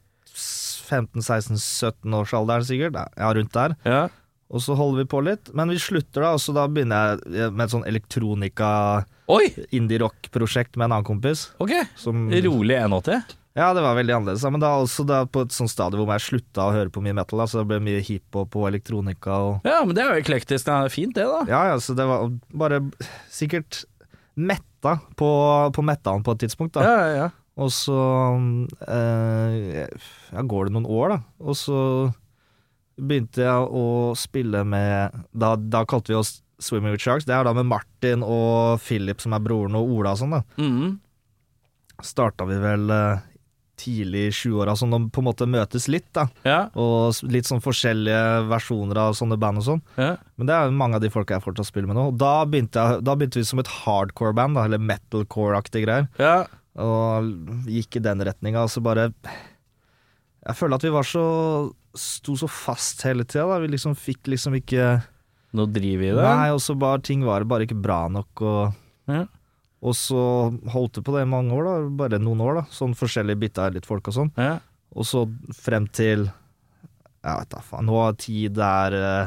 S3: 15-16-17-årsalderen sikkert. Ja, rundt der.
S2: Ja.
S3: Og så holder vi på litt, men vi slutter da, og så da begynner jeg med et sånn elektronika-indie-rock-prosjekt
S2: Oi,
S3: med en annen kompis.
S2: ok.
S3: Som,
S2: Rolig 180.
S3: ja, det var veldig annerledes. da, Men da også da på et sånt stadium hvor jeg slutta å høre på mye metal, da, så det ble mye hiphop og elektronika og
S2: Ja, men det er jo eklektisk. Det er fint, det, da.
S3: Ja, ja, så det var bare sikkert metta på, på mettaen på et tidspunkt, da.
S2: Ja, ja, ja.
S3: Og så eh, ja, går det noen år, da. Og så begynte jeg å spille med Da, da kalte vi oss Swimming with Sharks. Det er da med Martin og Philip, som er broren, og Ola og sånn, da.
S2: Mhm.
S3: Starta vi vel eh, tidlig i 20-åra, sånn de på en måte møtes litt, da.
S2: ja,
S3: Og s- litt sånn forskjellige versjoner av sånne band og sånn.
S2: ja.
S3: Men det er jo mange av de folka jeg fortsatt spiller med nå. Og da begynte, jeg, da begynte vi som et hardcore-band, da, eller metalcore-aktige greier.
S2: ja.
S3: Og gikk i den retninga. Altså bare Jeg føler at vi var så Sto så fast hele tida. da. Vi liksom fikk liksom ikke
S2: Nå driver vi det.
S3: Nei, og så bare ting var bare ikke bra nok, og
S2: Ja.
S3: Og så holdt det på det i mange år, da. Bare noen år, da. Sånn forskjellige bytta litt folk og sånn.
S2: Ja.
S3: Og så frem til Jeg vet da faen. Nå er tid der uh,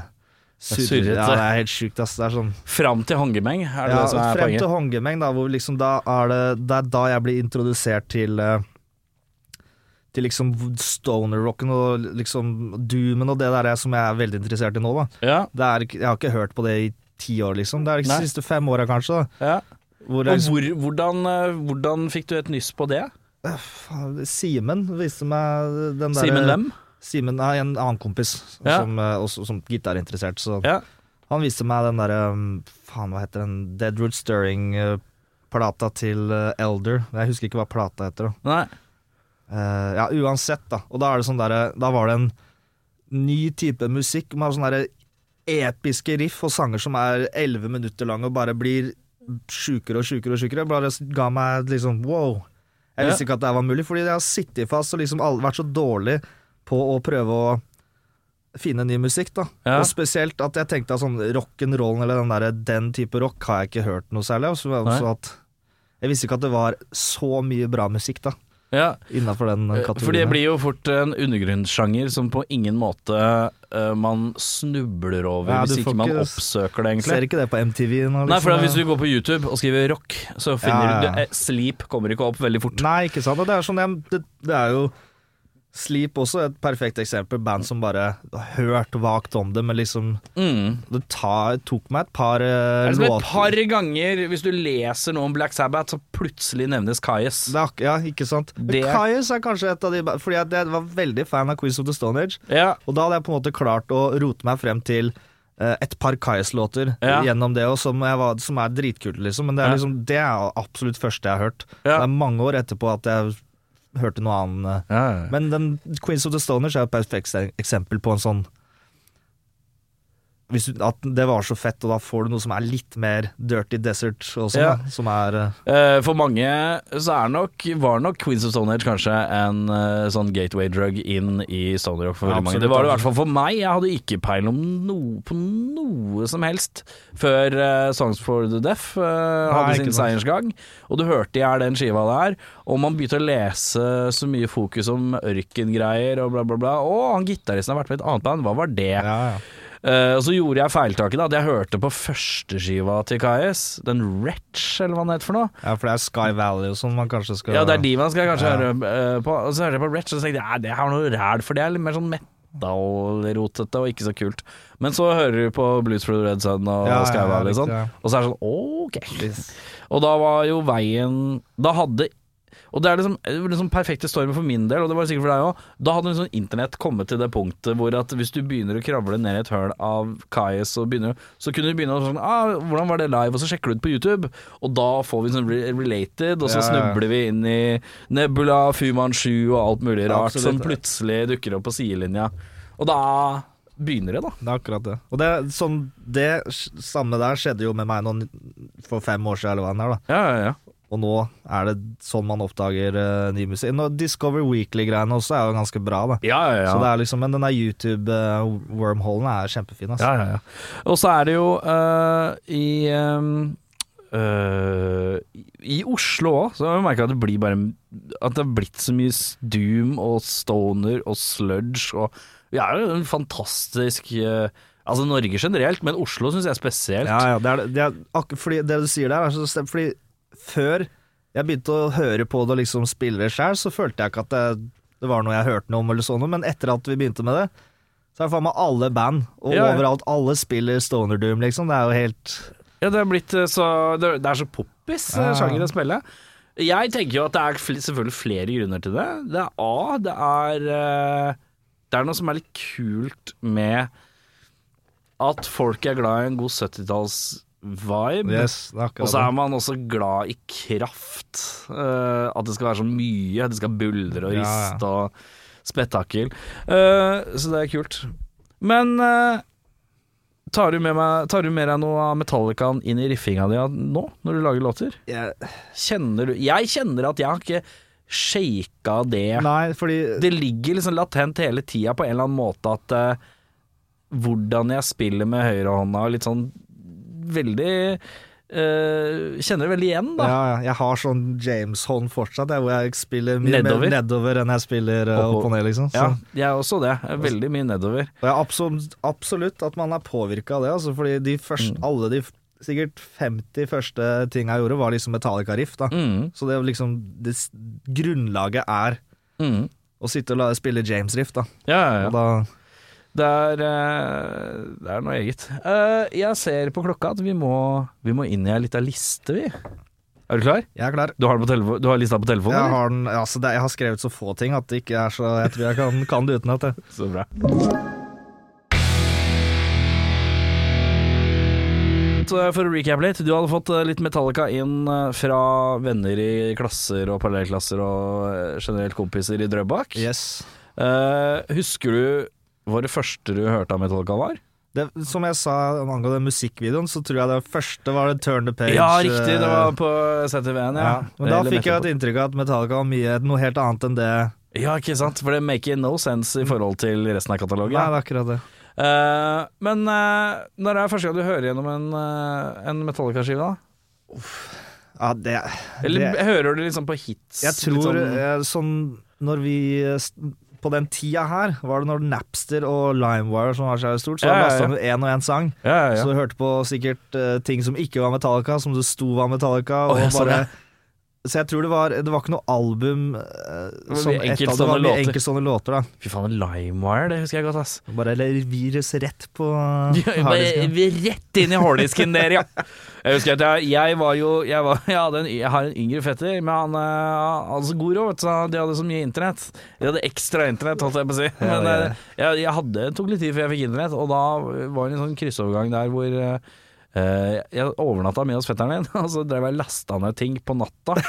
S2: Det er surrete.
S3: Ja, det er helt sjukt, ass. Det er sånn
S2: Fram til håndgemeng, er det
S3: ja,
S2: det som er
S3: frem til
S2: poenget?
S3: Hongemeng, da, hvor liksom da er det Det er da jeg blir introdusert til eh, Til liksom stoner-rocken og liksom doomen og det der jeg, som jeg er veldig interessert i nå, da.
S2: Ja,
S3: Det er, ikke- jeg har ikke hørt på det i ti år, liksom. Det er de
S2: Nei.
S3: siste fem åra, kanskje. da
S2: ja.
S3: hvor
S2: Og
S3: jeg liksom,
S2: hvor, hvordan, eh, hvordan fikk du et nyss på det?
S3: eh, faen, Simen viste meg den der eh,
S2: Simen Lem?
S3: Simen er en annen kompis
S2: Ja.
S3: som, eh, også, som gitarinteressert, så
S2: Ja.
S3: han viste meg den derre um, Faen, hva heter den? Deadwood Stirring-plata til eh, Elder. Jeg husker ikke hva plata heter. da.
S2: Nei.
S3: Eh, ja, uansett, da. Og da er det sånn derre Da var det en ny type musikk med sånne derre episke riff og sanger som er elleve minutter lange og bare blir sjukere og sjukere og sjukere. Bare s- ga meg et liksom wow. Jeg
S2: Ja.
S3: visste ikke at det var mulig, fordi jeg har sittet fast og liksom all- vært så dårlig på å prøve å finne ny musikk, da.
S2: Ja.
S3: Og spesielt at jeg tenkte at sånn rock'n'rollen eller den derre den type rock har jeg ikke hørt noe særlig av. Så jeg,
S2: Nei.
S3: også at, jeg visste ikke at det var så mye bra musikk, da.
S2: Ja.
S3: Innafor den
S2: Eh,
S3: kategorien.
S2: For det
S3: her.
S2: blir jo fort en undergrunnssjanger som på ingen måte eh, man snubler over,
S3: Ja, du
S2: hvis
S3: får
S2: ikke man
S3: ikke s-
S2: oppsøker det, egentlig.
S3: Ser ikke det på MTV nå, liksom.
S2: Nei, for da, Hvis du går på YouTube og skriver rock, så finner
S3: Ja, ja, ja.
S2: du eh, Sleep kommer ikke opp veldig fort.
S3: Nei, ikke sant. Og Det er, sånn, jeg- det, det er jo Sleep også et perfekt eksempel. Band som bare har hørt vagt om det, men liksom
S2: Mm.
S3: Det ta, tok meg et par eh,
S2: Det er som et
S3: låter
S2: par ganger, hvis du leser noe om Black Sabbath, så plutselig nevnes Kais.
S3: det er, ak- Ja, ikke sant.
S2: Det-
S3: Kaius er kanskje et av de ba- Fordi jeg, jeg var veldig fan av Quiz of the Stone Age,
S2: Ja,
S3: og da hadde jeg på en måte klart å rote meg frem til eh, et par Kaius-låter
S2: Ja.
S3: gjennom det, og som, jeg var, som er dritkult, liksom. Men det er,
S2: Ja.
S3: liksom, det er absolutt første jeg har hørt.
S2: ja.
S3: Det er mange år etterpå at jeg hørte noe annet. eh.
S2: ja.
S3: Men den Queens of the Stoners er jo et perfekt eksempel på en sånn hvis du, At det var så fett, og da får du noe som er litt mer dirty desert og sånn,
S2: Ja.
S3: da, som er eh,
S2: Eh, For mange så er nok, var nok Queens of Stone Age kanskje en eh, sånn gateway drug inn i Stone Rock for veldig mange.
S3: Absolutt,
S2: Det var det i
S3: absolutt.
S2: hvert fall for meg. Jeg hadde ikke peil om noe på noe som helst før eh, Songs for the Deaf eh,
S3: Nei,
S2: hadde
S3: ikke
S2: sin
S3: sant.
S2: seiersgang. Og du hørte jeg er den skiva der, og man begynte å lese så mye fokus om ørkengreier og bla, bla, bla. Å, han gitaristen har vært med i et annet band, hva var det? Eh, og så gjorde jeg feiltaket da, at jeg hørte på førsteskiva til KS, den Wretch, eller hva den het for noe.
S3: ja, for det er Sky Valley og sånn man kanskje skal
S2: Ja, det er de man skal kanskje
S3: Ja.
S2: høre eh, på. Og så hørte jeg på Retch, og så tenkte jeg "Nei, det her var noe ræl, for det er litt mer sånn metal-rotete og ikke så kult. Men så hører du på Blues for the Red Sun og
S3: Ja, ja,
S2: Sky
S3: ja,
S2: Valley og sånn,
S3: riktig, ja.
S2: og så er det sånn OK. Og da var jo veien Da hadde og det er liksom, det var liksom perfekte stormen for min del, og det var det sikkert for deg òg. Da hadde liksom internett kommet til det punktet hvor at hvis du begynner å kravle ned i et høl av Kais, og begynner, så kunne du begynne å sånn ah, 'Hvordan var det live?' Og så sjekker du ut på YouTube, og da får vi sånn re- related, og så
S3: Ja, ja.
S2: snubler vi inn i Nebula, Fuman 7 og alt mulig rart
S3: Absolutt,
S2: som
S3: ja.
S2: plutselig dukker opp på sidelinja. Og da begynner det, da.
S3: Det er akkurat det. Og det, er sånn, det s- samme der skjedde jo med meg noen, for fem år siden, eller hva det er, da.
S2: Ja, ja, ja.
S3: Og nå er det sånn man oppdager eh, ny musikk. Nå, Discover Weekly-greiene også er jo ganske bra, da.
S2: ja, ja, ja.
S3: Så det er liksom, men den der eh, altså. YouTube-wormholen er kjempefin. Altså.
S2: Ja, ja, ja. Og så er det jo eh, i eh, øh, i i Oslo òg, så har jeg merka at det blir bare At det har blitt så mye s- doom og stoner og sludge og Vi er jo en fantastisk øh, Altså Norge generelt, men Oslo syns jeg er spesielt.
S3: Ja, ja, det er, det er akkurat fordi det du sier der er så stemt, fordi før jeg begynte å høre på det og liksom spille det sjøl, så følte jeg ikke at det, det var noe jeg hørte noe om eller sånn, men etter at vi begynte med det, så er det faen meg alle band, og
S2: Ja, ja.
S3: overalt, alle spiller Stoner Doom, liksom, det er jo helt
S2: Ja, det er blitt eh, så Det det er så poppis eh,
S3: Ja.
S2: sjanger å spille. Jeg tenker jo at det er fl selvfølgelig flere grunner til det. Det er A, det er eh, Det er noe som er litt kult med at folk er glad i en god 70-talls-vibe.
S3: det er
S2: Og så er man også glad i kraft. eh, at det skal være så mye. Det skal buldre og
S3: Ja, ja.
S2: riste og spetakkel. Eh, så det er kult. Men eh, tar, du med meg, tar du med deg noe av Metallicaen inn i riffinga di nå, når du lager låter?
S3: Jeg,
S2: Kjenner du Jeg kjenner at jeg har ikke shaka det.
S3: nei, fordi
S2: Det ligger liksom latent hele tida på en eller annen måte at eh, hvordan jeg spiller med høyrehånda, litt sånn veldig eh, Kjenner det veldig igjen,
S3: ja,
S2: da.
S3: ja, jeg har sånn James-hånd fortsatt, jeg, hvor jeg spiller mye
S2: Nedover?
S3: mer nedover enn jeg spiller eh,
S2: Oppover.
S3: opp og ned, liksom. Så.
S2: Ja, jeg er også det. Jeg er Veldig mye nedover.
S3: Og jeg er absolutt, absolutt at man er påvirka av det, altså, fordi de først,
S2: Mm.
S3: alle de f- sikkert 50 første tinga jeg gjorde, var liksom Metallica-riff. da.
S2: Mm,
S3: Så det er liksom det, s- Grunnlaget er
S2: mm.
S3: å sitte og la, spille James-riff, da.
S2: Ja, ja, ja.
S3: Og da
S2: Det er, eh, det er noe eget. Eh, jeg ser på klokka at vi må, vi må inn i ei lita liste, vi. Er du klar?
S3: jeg er klar.
S2: Du har, den på telefo- du har lista på telefonen?
S3: Jeg
S2: eller?
S3: har, den, altså det, jeg har skrevet så få ting at det ikke er så Jeg tror jeg kan, kan det utenat. jeg.
S2: Så bra. Så eh, For å recap litt, du hadde fått eh, litt Metallica inn eh, fra venner i klasser og parallellklasser og eh, generelt kompiser i Drøbak.
S3: Yes.
S2: Eh, husker du hva det første du hørte av Metallica var?
S3: Det, som jeg sa angående musikkvideoen, så tror jeg det første var det Turn the Page.
S2: ja, riktig, det var
S3: eh,
S2: på ZTV-en, ja.
S3: ja. Men da
S2: Eller
S3: fikk jeg
S2: nettopp.
S3: et inntrykk av at Metallica var mye noe helt annet enn det.
S2: Ja, ikke sant? For det maker no sense i forhold til resten av katalogen.
S3: Nei, det er akkurat det.
S2: Eh, men eh, når er det første gang du hører gjennom en, eh, en Metallica-skive, da?
S3: Ja, det,
S2: Eller
S3: det
S2: hører du liksom på hits?
S3: Jeg
S2: litt
S3: tror
S2: sånn,
S3: eh, sånn Når vi eh, s- På den tida her var det når Napster og LimeWire som var så stort, så
S2: Ja, ja, ja.
S3: lasta du én og én sang.
S2: ja, ja, ja.
S3: Så du hørte på sikkert eh, ting som ikke var Metallica, som det sto var Metallica.
S2: Å,
S3: Og
S2: jeg så
S3: bare,
S2: det.
S3: så jeg tror det var Det var ikke noe album eh,
S2: var
S3: som
S2: mye
S3: ett av-
S2: enkeltstående
S3: det var mye
S2: låter.
S3: enkeltstående låter. da
S2: Fy faen, LimeWire, det husker jeg godt, ass.
S3: Bare eller virus rett på
S2: Ja,
S3: eh,
S2: bare,
S3: harddisken.
S2: vi er rett inn i harddisken der, ja. Jeg husker at jeg, jeg var jo jeg, var, jeg, hadde en, jeg har en yngre fetter, men han eh, hadde så god råd, vet du, så han- de hadde så mye internett. De hadde ekstra internett, holdt jeg på å si.
S3: Ja,
S2: Men
S3: ja, ja.
S2: eh, jeg, jeg hadde, det tok litt tid før jeg fikk internett, og da var det en sånn kryssovergang der hvor eh, eh, jeg overnatta med hos fetteren min, og så drev jeg og lasta ned ting på natta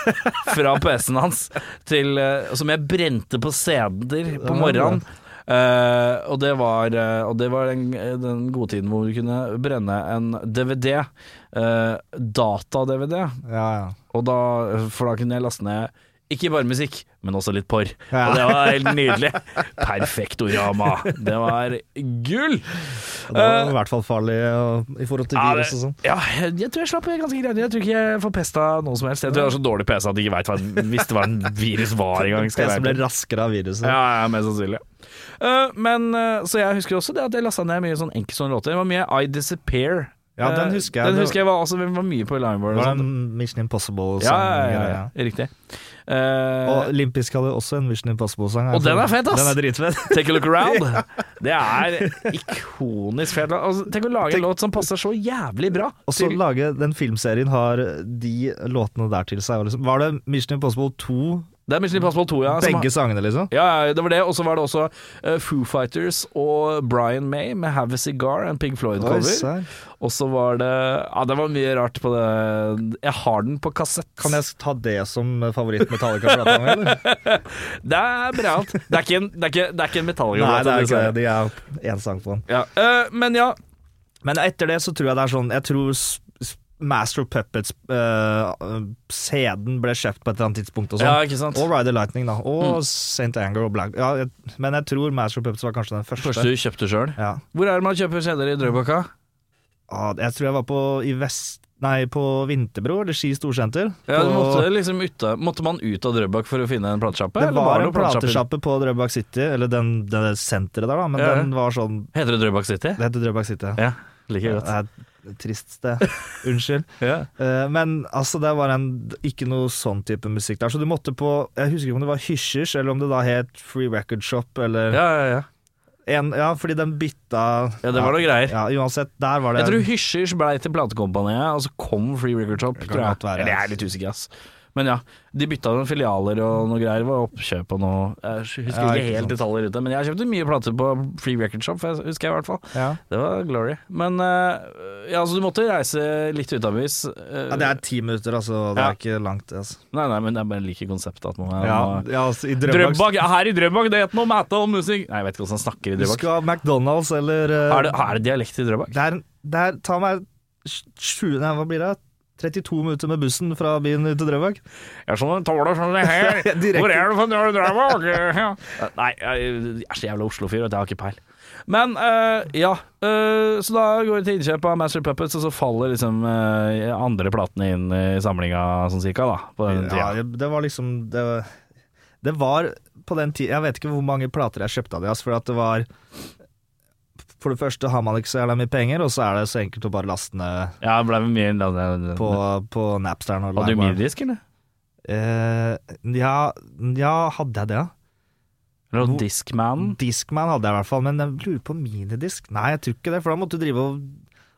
S2: fra PC-en hans, til, eh, som jeg brente på CD-er på morgenen. Eh, og det var, eh, og det var den, den gode tiden hvor du kunne brenne en DVD. eh, Data-DVD.
S3: Ja, ja.
S2: Og da, for da kunne jeg laste ned ikke bare musikk, men også litt porr.
S3: Ja.
S2: Og det var helt nydelig. Perfektorama. Det var gull!
S3: Og Det var
S2: Eh,
S3: i hvert fall farlig eh, i forhold til
S2: ja,
S3: virus og sånn.
S2: det- ja, jeg, jeg tror jeg slapp ganske greit. Jeg tror ikke jeg får pesta noe som helst. Jeg tror jeg har så dårlig PC at jeg ikke vet hva, visste hva en virus var engang. skal jeg
S3: Det
S2: være
S3: som sånn. ble raskere av viruset.
S2: Ja, ja, mest sannsynlig. Eh, men, eh, så jeg husker også det at jeg lasta ned mye sånn enkeltstående låter. Det var mye I Disappear.
S3: Ja, den
S2: Eh,
S3: husker jeg.
S2: Den
S3: Det-
S2: husker jeg var, også, var mye på Limeboard.
S3: Var det en Mission
S2: sånn.
S3: Impossible-sang?
S2: Ja, ja, ja,
S3: eller-
S2: ja, ja. Riktig. Eh,
S3: Og Limpisk hadde også en Mission Impossible-sang.
S2: Og den er fet, ass!
S3: Den er dritfett.
S2: Take a look around. Det er ikonisk fet. Altså, tenk å lage en låt som passer så jævlig bra.
S3: Og så
S2: til-
S3: lage den filmserien har de låtene der til seg. og Liksom. Var det Mission Impossible 2,
S2: det er Mission Impossible 2, ja. som har-
S3: begge sangene, liksom?
S2: Altså, Ja, ja, det var det. Og så var det også eh, Foo Fighters og Brian May med Have a Cigar and Pig
S3: Oi,
S2: Floyd-cover.
S3: serr.
S2: Og så var det Ja, det var mye rart på det. Jeg har den på kassett.
S3: Kan jeg ta det som favoritt Metallica-plata mi, eller?
S2: Det er bra. alt. Det er ikke en, det er ikke, det er ikke en metallica.
S3: Nei, det er ikke det. De er én sang på den.
S2: Ja. eh, men ja,
S3: Men etter det så tror jeg det er sånn Jeg tror s- s- Master of Puppets eh, Sæden ble kjøpt på et eller annet tidspunkt og sånn.
S2: ja, Mm. ikke sant.
S3: Og Ride the Lightning, da. Og St. Anger og Black. Ja, jeg, men jeg tror Master of Puppets var kanskje den første.
S2: Første du kjøpte sjøl.
S3: Ja.
S2: Hvor er det man kjøper CD-er i Drøbaka?
S3: Ah, Jeg tror jeg var på i vest, Nei, på Vinterbro, eller Ski storsenter.
S2: Ja, du
S3: På-
S2: måtte, liksom ut, av- måtte man ut av Drøbak for å finne en platesjappe?
S3: det
S2: eller
S3: var
S2: det
S3: en
S2: platesjapper?
S3: platesjappe på Drøbak City, eller den, det der senteret der, da, men
S2: Ja.
S3: den var sånn
S2: Heter det Drøbak City?
S3: Det heter Drøbak City.
S2: Ja, like
S3: Det
S2: godt.
S3: er et trist sted. Unnskyld.
S2: Ja.
S3: Eh, Men altså, det var en, ikke noe sånn type musikk der. Så du måtte på Jeg husker ikke om det var Hysjers, eller om det da het Free Record Shop, eller
S2: Ja, ja, ja.
S3: En, ja, fordi den bytta
S2: ja, det var noe greier.
S3: Ja, uansett, der var det
S2: Jeg tror Hysjers blei til platekompaniet, og så kom Free Record Shop.
S3: Det kan
S2: tror jeg.
S3: godt være,
S2: Eller jeg er litt usikker, ass. Men ja, de bytta noen filialer og noe greier. Var oppkjøp og noe Jeg husker
S3: Ja,
S2: ikke
S3: ikke
S2: helt
S3: sant.
S2: detaljer rundt det, men jeg kjøpte mye plater på Free Record Shop, for jeg- husker jeg i hvert fall.
S3: ja.
S2: Det var glory. Men eh, ja, så du måtte reise litt ut av bys. eh,
S3: ja, det er ti minutter, altså. Det
S2: Ja.
S3: er ikke langt. Altså.
S2: Nei, nei, men jeg bare liker konseptet at man er
S3: Ja, ja, altså, I Drøbak,
S2: Drøbak, ja, her i Drøbak, det heter noe om æta og musikk. Nei, jeg vet ikke hvordan han snakker i
S3: Du
S2: Drøbak.
S3: skal ha McDonald's eller eh,
S2: Er det, er det dialekt i Drøbak?
S3: Det er, det er Ta meg sju Nei, hva blir det? 32 minutter med bussen fra byen ut til Drøbak.
S2: Jeg er sånn en tåler sånn det her.
S3: Direkte.
S2: Hvor er du fra når du Drøbak? Ja. Nei, jeg jeg er så jævla Oslo-fyr at jeg har ikke peil. Men eh, ja, eh, så da går vi til innkjøp av Master Puppets, og så faller liksom eh, andre platene inn i samlinga sånn cirka, da. På den tida.
S3: Ja, det var liksom Det, det var på den tida Jeg vet ikke hvor mange plater jeg kjøpte av det, ass, for at det var For det første har man ikke så jævla mye penger, og så er det så enkelt å bare laste ned
S2: Ja, det ble mye
S3: på, på Napsteren og
S2: Hadde du
S3: LimeWire.
S2: minidisk, eller?
S3: Eh, ja, ja, hadde jeg det, ja?
S2: Eller
S3: Hvor-
S2: Discman?
S3: Discman hadde jeg i hvert fall, men jeg lurer på minidisk. Nei, jeg tror ikke det, for da måtte du drive og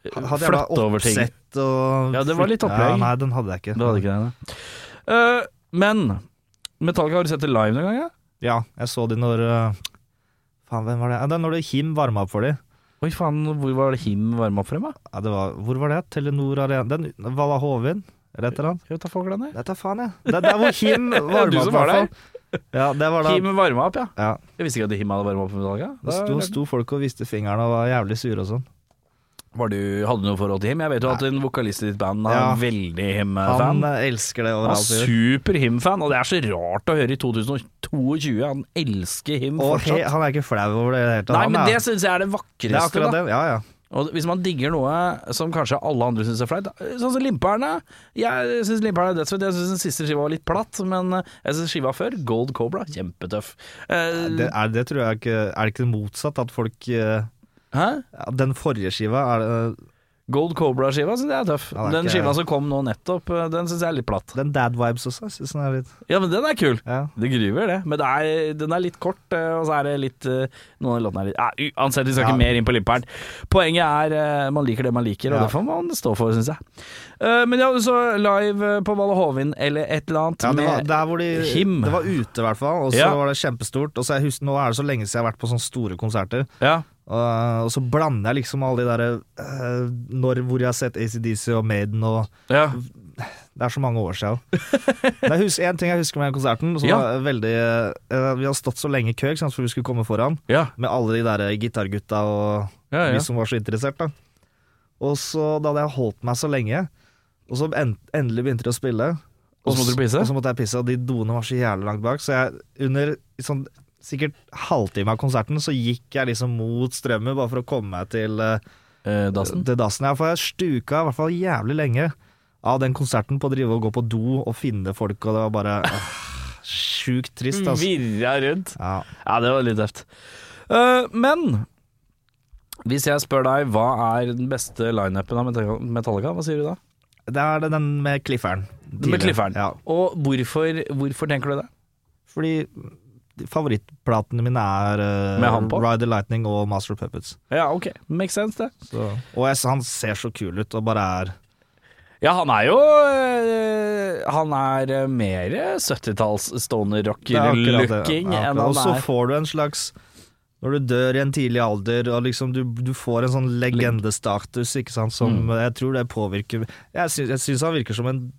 S3: Hadde jeg da
S2: Flytte over ting.
S3: oppsett og
S2: Ja, det var litt
S3: flytte-
S2: opplegg.
S3: Ja, nei, den hadde jeg ikke.
S2: Du hadde ikke det, nei. Eh, men Metallica, har du sett det live noen gang? Ja?
S3: Ja, jeg så de når øh, Faen, hvem var det? Ja, det er når det Him varma opp for de.
S2: Oi, faen, hvor var det Him varma opp frem? da?
S3: Ja, det var, hvor var det? Telenor Arena Den Valla Hovin? Eller et eller annet?
S2: Jeg vet da faen, jeg.
S3: Vet da faen, jeg. Det, det er hvor Him
S2: Ja, du som
S3: varma opp,
S2: var
S3: i
S2: der.
S3: hvert fall. Ja, det var da
S2: Him varma opp, ja.
S3: ja,
S2: Jeg visste ikke at Him hadde varma opp for Metallica.
S3: det sto, sto folk og viste fingrene og var jævlig sure og sånn.
S2: Var du, hadde du noe forhold til Him? Jeg vet jo at en vokalist i ditt band er
S3: Ja.
S2: en veldig
S3: Han
S2: Him-fan.
S3: øh, elsker det
S2: Han
S3: overalt.
S2: er
S3: sier.
S2: super Him-fan, og det er så rart å høre i 2022. Han elsker Him
S3: Og he,
S2: fortsatt.
S3: han er ikke flau over det i det hele tatt.
S2: Nei,
S3: Han
S2: men
S3: er-
S2: det syns jeg er det
S3: det er
S2: vakreste. da.
S3: akkurat det. Ja, ja.
S2: Og hvis man digger noe som kanskje alle andre syns er flaut, sånn som Limperna. Jeg syns Limperna er dødsfett. Jeg syns den siste skiva var litt platt, men eh, jeg syns skiva før, Gold Cobra, kjempetøff. Eh,
S3: Det, er, det tror jeg ikke Er det ikke motsatt at folk øh,
S2: Hæ?
S3: ja, Den forrige skiva er, øh, Gold
S2: Cobra-skiva syns jeg er tøff.
S3: Ja, det er
S2: den
S3: ikke-
S2: skiva som kom nå nettopp, eh, den syns jeg er litt platt.
S3: Den Dad Vibes også, jeg synes den er litt
S2: Ja, men den er kul.
S3: ja.
S2: Det gruver, det. Men det er, den er litt kort, eh, og så er det litt eh, Noen av låtene er litt ja, Uansett, vi skal
S3: Ja.
S2: ikke mer inn på Limperen. Poenget er eh, man liker det man liker, og
S3: Ja.
S2: det får man stå for, syns jeg. Eh, men ja, så live eh, på Valle Hovin eller et eller annet
S3: Ja, det var,
S2: med
S3: der hvor de,
S2: Him.
S3: det var ute, i hvert fall. Og så
S2: Ja.
S3: var det kjempestort. Og så jeg husker, Nå er det så lenge siden jeg har vært på sånne store konserter.
S2: Ja,
S3: Og, og så blander jeg liksom alle de derre eh, Når hvor jeg har sett ACDC og Maiden og
S2: ja.
S3: Det er så mange år siden. Men jeg husker, en ting jeg husker med den konserten, som
S2: Ja.
S3: var veldig eh, Vi har stått så lenge i kø ikke sant, for vi skulle komme foran,
S2: ja.
S3: med alle de derre gitargutta og
S2: ja, ja.
S3: vi som var så interessert da. Og så da hadde jeg holdt meg så lenge, og så en, endelig begynte de å spille.
S2: Og så måtte du pisse?
S3: Og så måtte jeg pisse, og de doene var så jævlig langt bak. Så jeg under sånn, sikkert halvtime av konserten så gikk jeg liksom mot strømmen bare for å komme meg til, eh,
S2: Eh, dassen.
S3: til dassen. her, for jeg stuka i hvert fall jævlig lenge av den konserten på å drive og gå på do og finne folk, og det var bare ah, sjukt
S2: Mm,
S3: trist, altså.
S2: Virra rundt.
S3: Ja.
S2: Ja, det var litt tøft. Eh, men hvis jeg spør deg hva er den beste lineupen av Metallica- Metallica, hva sier du da?
S3: Det er den med clifferen.
S2: Med
S3: Tidlig.
S2: Clifferen.
S3: Ja.
S2: Og hvorfor, hvorfor tenker du det?
S3: Fordi de favorittplatene mine er eh,
S2: Med han på?
S3: Ride the Lightning og Master of Puppets.
S2: Ja, ok. Makes sense, det.
S3: Og jeg, han ser så kul ut og bare er
S2: Ja, han er jo øh, Han er øh, mer 70-talls
S3: Det er akkurat det.
S2: stoner-rocker-looking
S3: Ja,
S2: enn
S3: akkurat. Og
S2: han
S3: så
S2: er
S3: får du en slags Når du dør i en tidlig alder, og liksom du, du får en sånn legendestatus, ikke sant, som
S2: Mm.
S3: jeg tror det påvirker Jeg syns, jeg syns han virker som en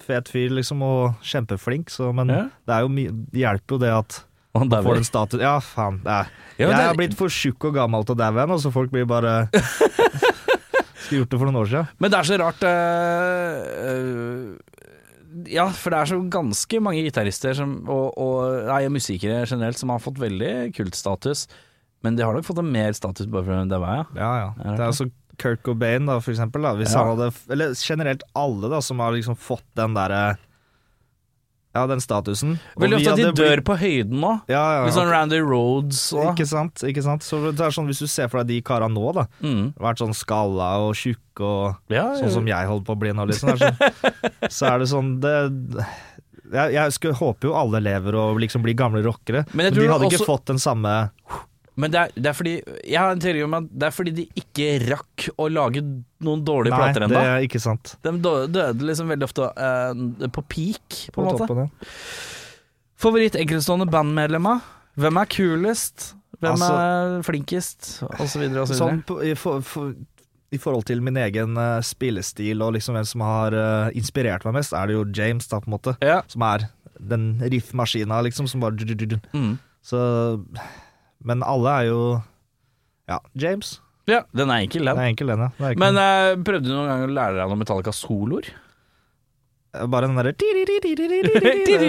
S3: fet fyr, liksom, og kjempeflink, så Men
S2: Ja.
S3: det er jo mye Det hjelper jo det at
S2: Og han
S3: får
S2: dauer.
S3: en status Ja, faen. Det er
S2: Ja, det
S3: jeg
S2: er-
S3: har blitt for tjukk og gammel til å daue igjen, og så folk blir bare Skulle gjort det for noen år siden.
S2: Men det er så rart øh, øh, Ja, for det er så ganske mange gitarister som, og, og nei, og musikere generelt som har fått veldig kultstatus. Men de har nok fått en mer status bare fordi de dauer, ja.
S3: Ja, ja. Det er så Kurt Cobain, da, for eksempel. Da, hvis
S2: Ja.
S3: han hadde, eller generelt alle da, som har liksom fått den derre Ja, den statusen. Og
S2: Veldig
S3: vi
S2: ofte at de
S3: hadde
S2: dør
S3: blitt-
S2: på høyden nå.
S3: ja, ja,
S2: Litt sånn Randy Roads og
S3: Ikke sant? ikke sant Så det er sånn, Hvis du ser for deg de kara nå, da
S2: mm.
S3: vært sånn skalla og tjukke og
S2: ja,
S3: sånn som jeg holder på å bli nå, liksom. Det er sånn, så er det sånn det, jeg, jeg skulle, håper jo alle lever og liksom blir gamle rockere,
S2: Men
S3: men,
S2: jeg tror
S3: de hadde
S2: også-
S3: ikke fått den samme
S2: Men det er, det er fordi Jeg har en teori om at det er fordi de ikke rakk å lage noen dårlige
S3: Nei,
S2: plater
S3: det
S2: ennå.
S3: er ikke sant.
S2: De dø- døde liksom veldig ofte eh, på peak, på, en måte.
S3: toppen, ja.
S2: Favoritt enkeltstående bandmedlemmer? Hvem er kulest? Hvem er
S3: Altså-
S2: flinkest? Og så videre og så videre.
S3: Sånn på, i, for, for, i forhold til min egen eh, spillestil og liksom hvem som har eh, inspirert meg mest, er det jo James, da, på en måte.
S2: Ja.
S3: Som er den riffmaskina, liksom, som bare
S2: Mm.
S3: Så Men alle er jo Ja, James.
S2: ja. Den er enkel,
S3: Det
S2: den.
S3: er enkel, den, ja. Det er ikke
S2: Men
S3: noe-
S2: eh, prøvde du noen gang å lære deg noen Metallica-soloer?
S3: Bare den derre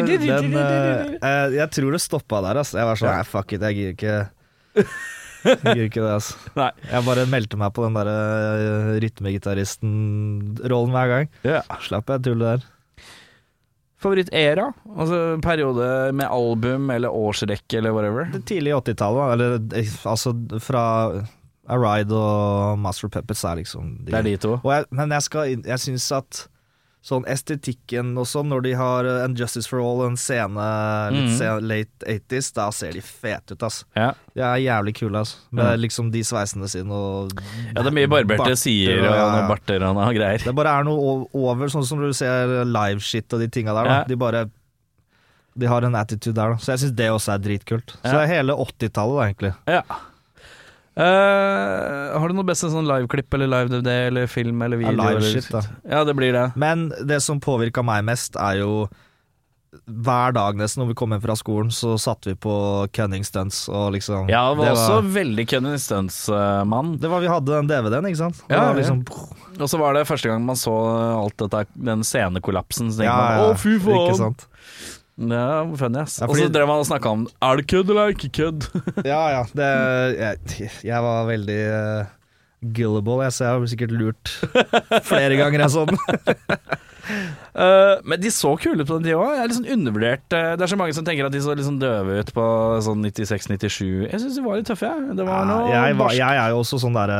S3: Den eh, eh, Jeg tror det stoppa der, altså. Jeg var sånn
S2: Ja.
S3: Nei, fuck it, jeg gir ikke Jeg gidder ikke det, altså.
S2: Nei.
S3: Jeg bare meldte meg på den derre eh, rytmegitaristen-rollen hver gang.
S2: Ja.
S3: Slapp jeg tullet der.
S2: Favoritt-era? Altså periode med album eller årsrekke eller whatever?
S3: Det tidlige 80-tallet, eller eh, altså fra Aride og Master of Puppets er liksom de-
S2: Det er de to.
S3: Og jeg, men jeg, skal, inn- jeg syns at sånn estetikken og sånn, når de har eh, And Justice for All, en scene litt
S2: Mhm.
S3: sen, late 80s, da ser de fete ut, ass.
S2: Ja.
S3: De er jævlig kule, ass. Med liksom de sveisene sine og
S2: ja, det er mye barberte
S3: barter
S2: sider og
S3: ja,
S2: noen
S3: ja.
S2: barter og noe greier.
S3: Det bare er noe o- over, sånn som du ser live-shit og de tinga der, da.
S2: Ja.
S3: De bare de har en attitude der, da. Så jeg syns det også er dritkult. Så
S2: Ja.
S3: det er hele 80-tallet, da, egentlig.
S2: Ja. Eh, har du noe beste sånn liveklipp eller live DVD eller film eller
S3: Ja,
S2: video?
S3: live
S2: eller-
S3: shit, da.
S2: Ja, det blir det.
S3: Men det som påvirka meg mest, er jo hver dag nesten når vi kom hjem fra skolen, så satte vi på cunning stunts og liksom
S2: Ja, det var også
S3: var,
S2: veldig Kenny Stunts-mann.
S3: det var Vi hadde den DVD-en, ikke sant? Det
S2: Ja,
S3: var
S2: ja.
S3: liksom,
S2: og så var det første gang man så alt dette, den scenekollapsen. Så tenkte
S3: ja,
S2: man
S3: ja,
S2: å, fy
S3: Ikke
S2: faen!
S3: sant?
S2: Ja, hvor funny, ass.
S3: Ja,
S2: Og så
S3: fordi-
S2: drev man og snakka om er det kødd eller er det ikke kødd.
S3: Ja ja. Det, jeg, jeg var veldig uh, gullible, jeg, så jeg ble sikkert lurt flere ganger enn sånn.
S2: Eh, men de så kule ut på den tida òg. Litt sånn undervurdert. Eh, det er så mange som tenker at de så litt sånn døve ut på sånn 96-97. Jeg syns de var litt tøffe, jeg. Det var noe
S3: jeg, var,
S2: barsk-
S3: jeg er jo også sånn derre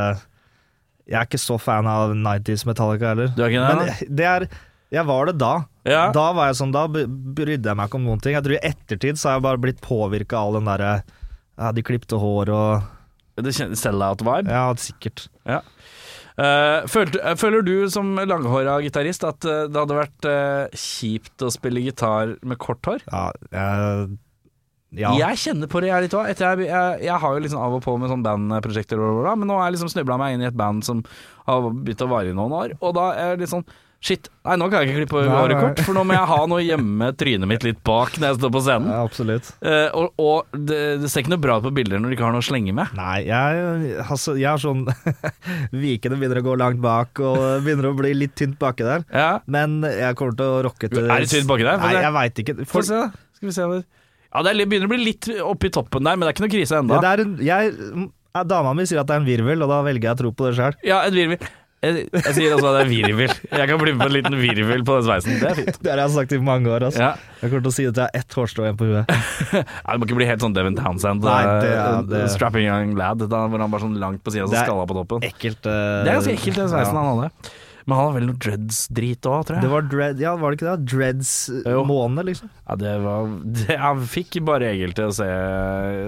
S3: Jeg er ikke så fan av 90s Metallica heller.
S2: Du er ikke det,
S3: Men jeg- det er Jeg var det da.
S2: Ja.
S3: Da var jeg sånn, da bry- brydde jeg meg ikke om noen ting. Jeg tror i ettertid så har jeg bare blitt påvirka av all den derre ja, De klipte hår og
S2: Det kjennes sell-out-vibe.
S3: Ja, sikkert.
S2: Eh, følte, eh, føler du som langhåra gitarist at eh, det hadde vært eh, kjipt å spille gitar med kort hår?
S3: Ja. Jeg, ja.
S2: Jeg kjenner på det, jeg litt òg. Jeg, jeg, jeg har jo liksom av og på med sånn bandprosjekter, og bla, bla, bla, men nå har jeg liksom snubla meg inn i et band som har begynt å vare i noen år, og da er jeg litt sånn Shit, nei, nå kan jeg ikke klippe
S3: Nei,
S2: håret
S3: nei.
S2: kort, for nå må jeg ha noe hjemme trynet mitt litt bak når jeg står på scenen.
S3: ja absolutt.
S2: Eh, og og det, det ser ikke noe bra ut på bilder når du ikke har noe å slenge med.
S3: Nei, jeg, altså, jeg er sånn Vikene begynner å gå langt bak, og begynner å bli litt tynt baki der.
S2: Ja.
S3: Men jeg kommer til å rocke til
S2: Er det tynt baki der?
S3: Nei, jeg veit ikke.
S2: Få
S3: For,
S2: se, da. Skal vi se om det Ja, det er litt- begynner å bli litt oppi toppen der, men det er ikke noe krise
S3: Ja,
S2: ennå.
S3: det er en, jeg, ja, dama mi sier at det er en virvel, og da velger jeg å tro på det sjøl.
S2: Ja, en virvel. Jeg, jeg sier altså at det er virvel. Jeg kan bli med på en liten virvel på den sveisen. Det er fint.
S3: Det har jeg sagt i mange år. Altså.
S2: Ja.
S3: Jeg kommer til å si at jeg har ett hårstrå igjen på huet.
S2: Ja, det må ikke bli helt sånn Devin Townsend.
S3: Nei,
S2: eh,
S3: det er- det-
S2: Strapping young lad. Da var han bare sånn langt på sida og
S3: Det er-
S2: skalla på toppen.
S3: Ekkelt. eh,
S2: Det er ganske ekkelt, den sveisen han hadde. Men han hadde vel noe dreads-drit òg, tror jeg.
S3: Det var dread, ja, var det ikke det? Dreads
S2: Jo.
S3: måned, liksom.
S2: ja, det var det, Han fikk bare Egil til å se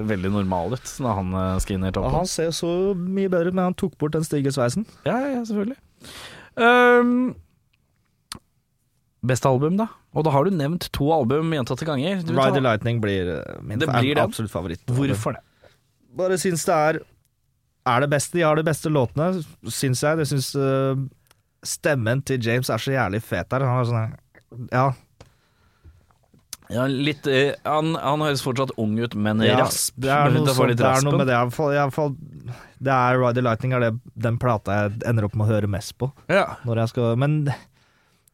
S2: veldig normal ut når han eh, skinner
S3: Og
S2: toppen.
S3: han ser jo så mye bedre ut, men han tok bort den stygge sveisen.
S2: Ja, ja, selvfølgelig. Ehm, beste album, da? Og da har du nevnt to album gjentatte ganger. Du tar-
S3: Ride the Lightning blir eh, min
S2: Det
S3: fa-
S2: blir den.
S3: absolutt favoritt.
S2: Hvorfor det?
S3: Bare syns det er Er det beste. De har de beste låtene, syns jeg. Jeg syns eh, stemmen til James er så jævlig fet der. Han er sånn Ja,
S2: Ja, litt, eh, han, han høres fortsatt ung ut, men
S3: Ja,
S2: rasp.
S3: Det er
S2: Men
S3: noe,
S2: det får
S3: sånt,
S2: litt
S3: det er
S2: raspen.
S3: noe med det. i hvert fall- i hvert fall- Det er Ride the Lightning er det, den plata jeg ender opp med å høre mest på.
S2: Ja.
S3: Når jeg skal, men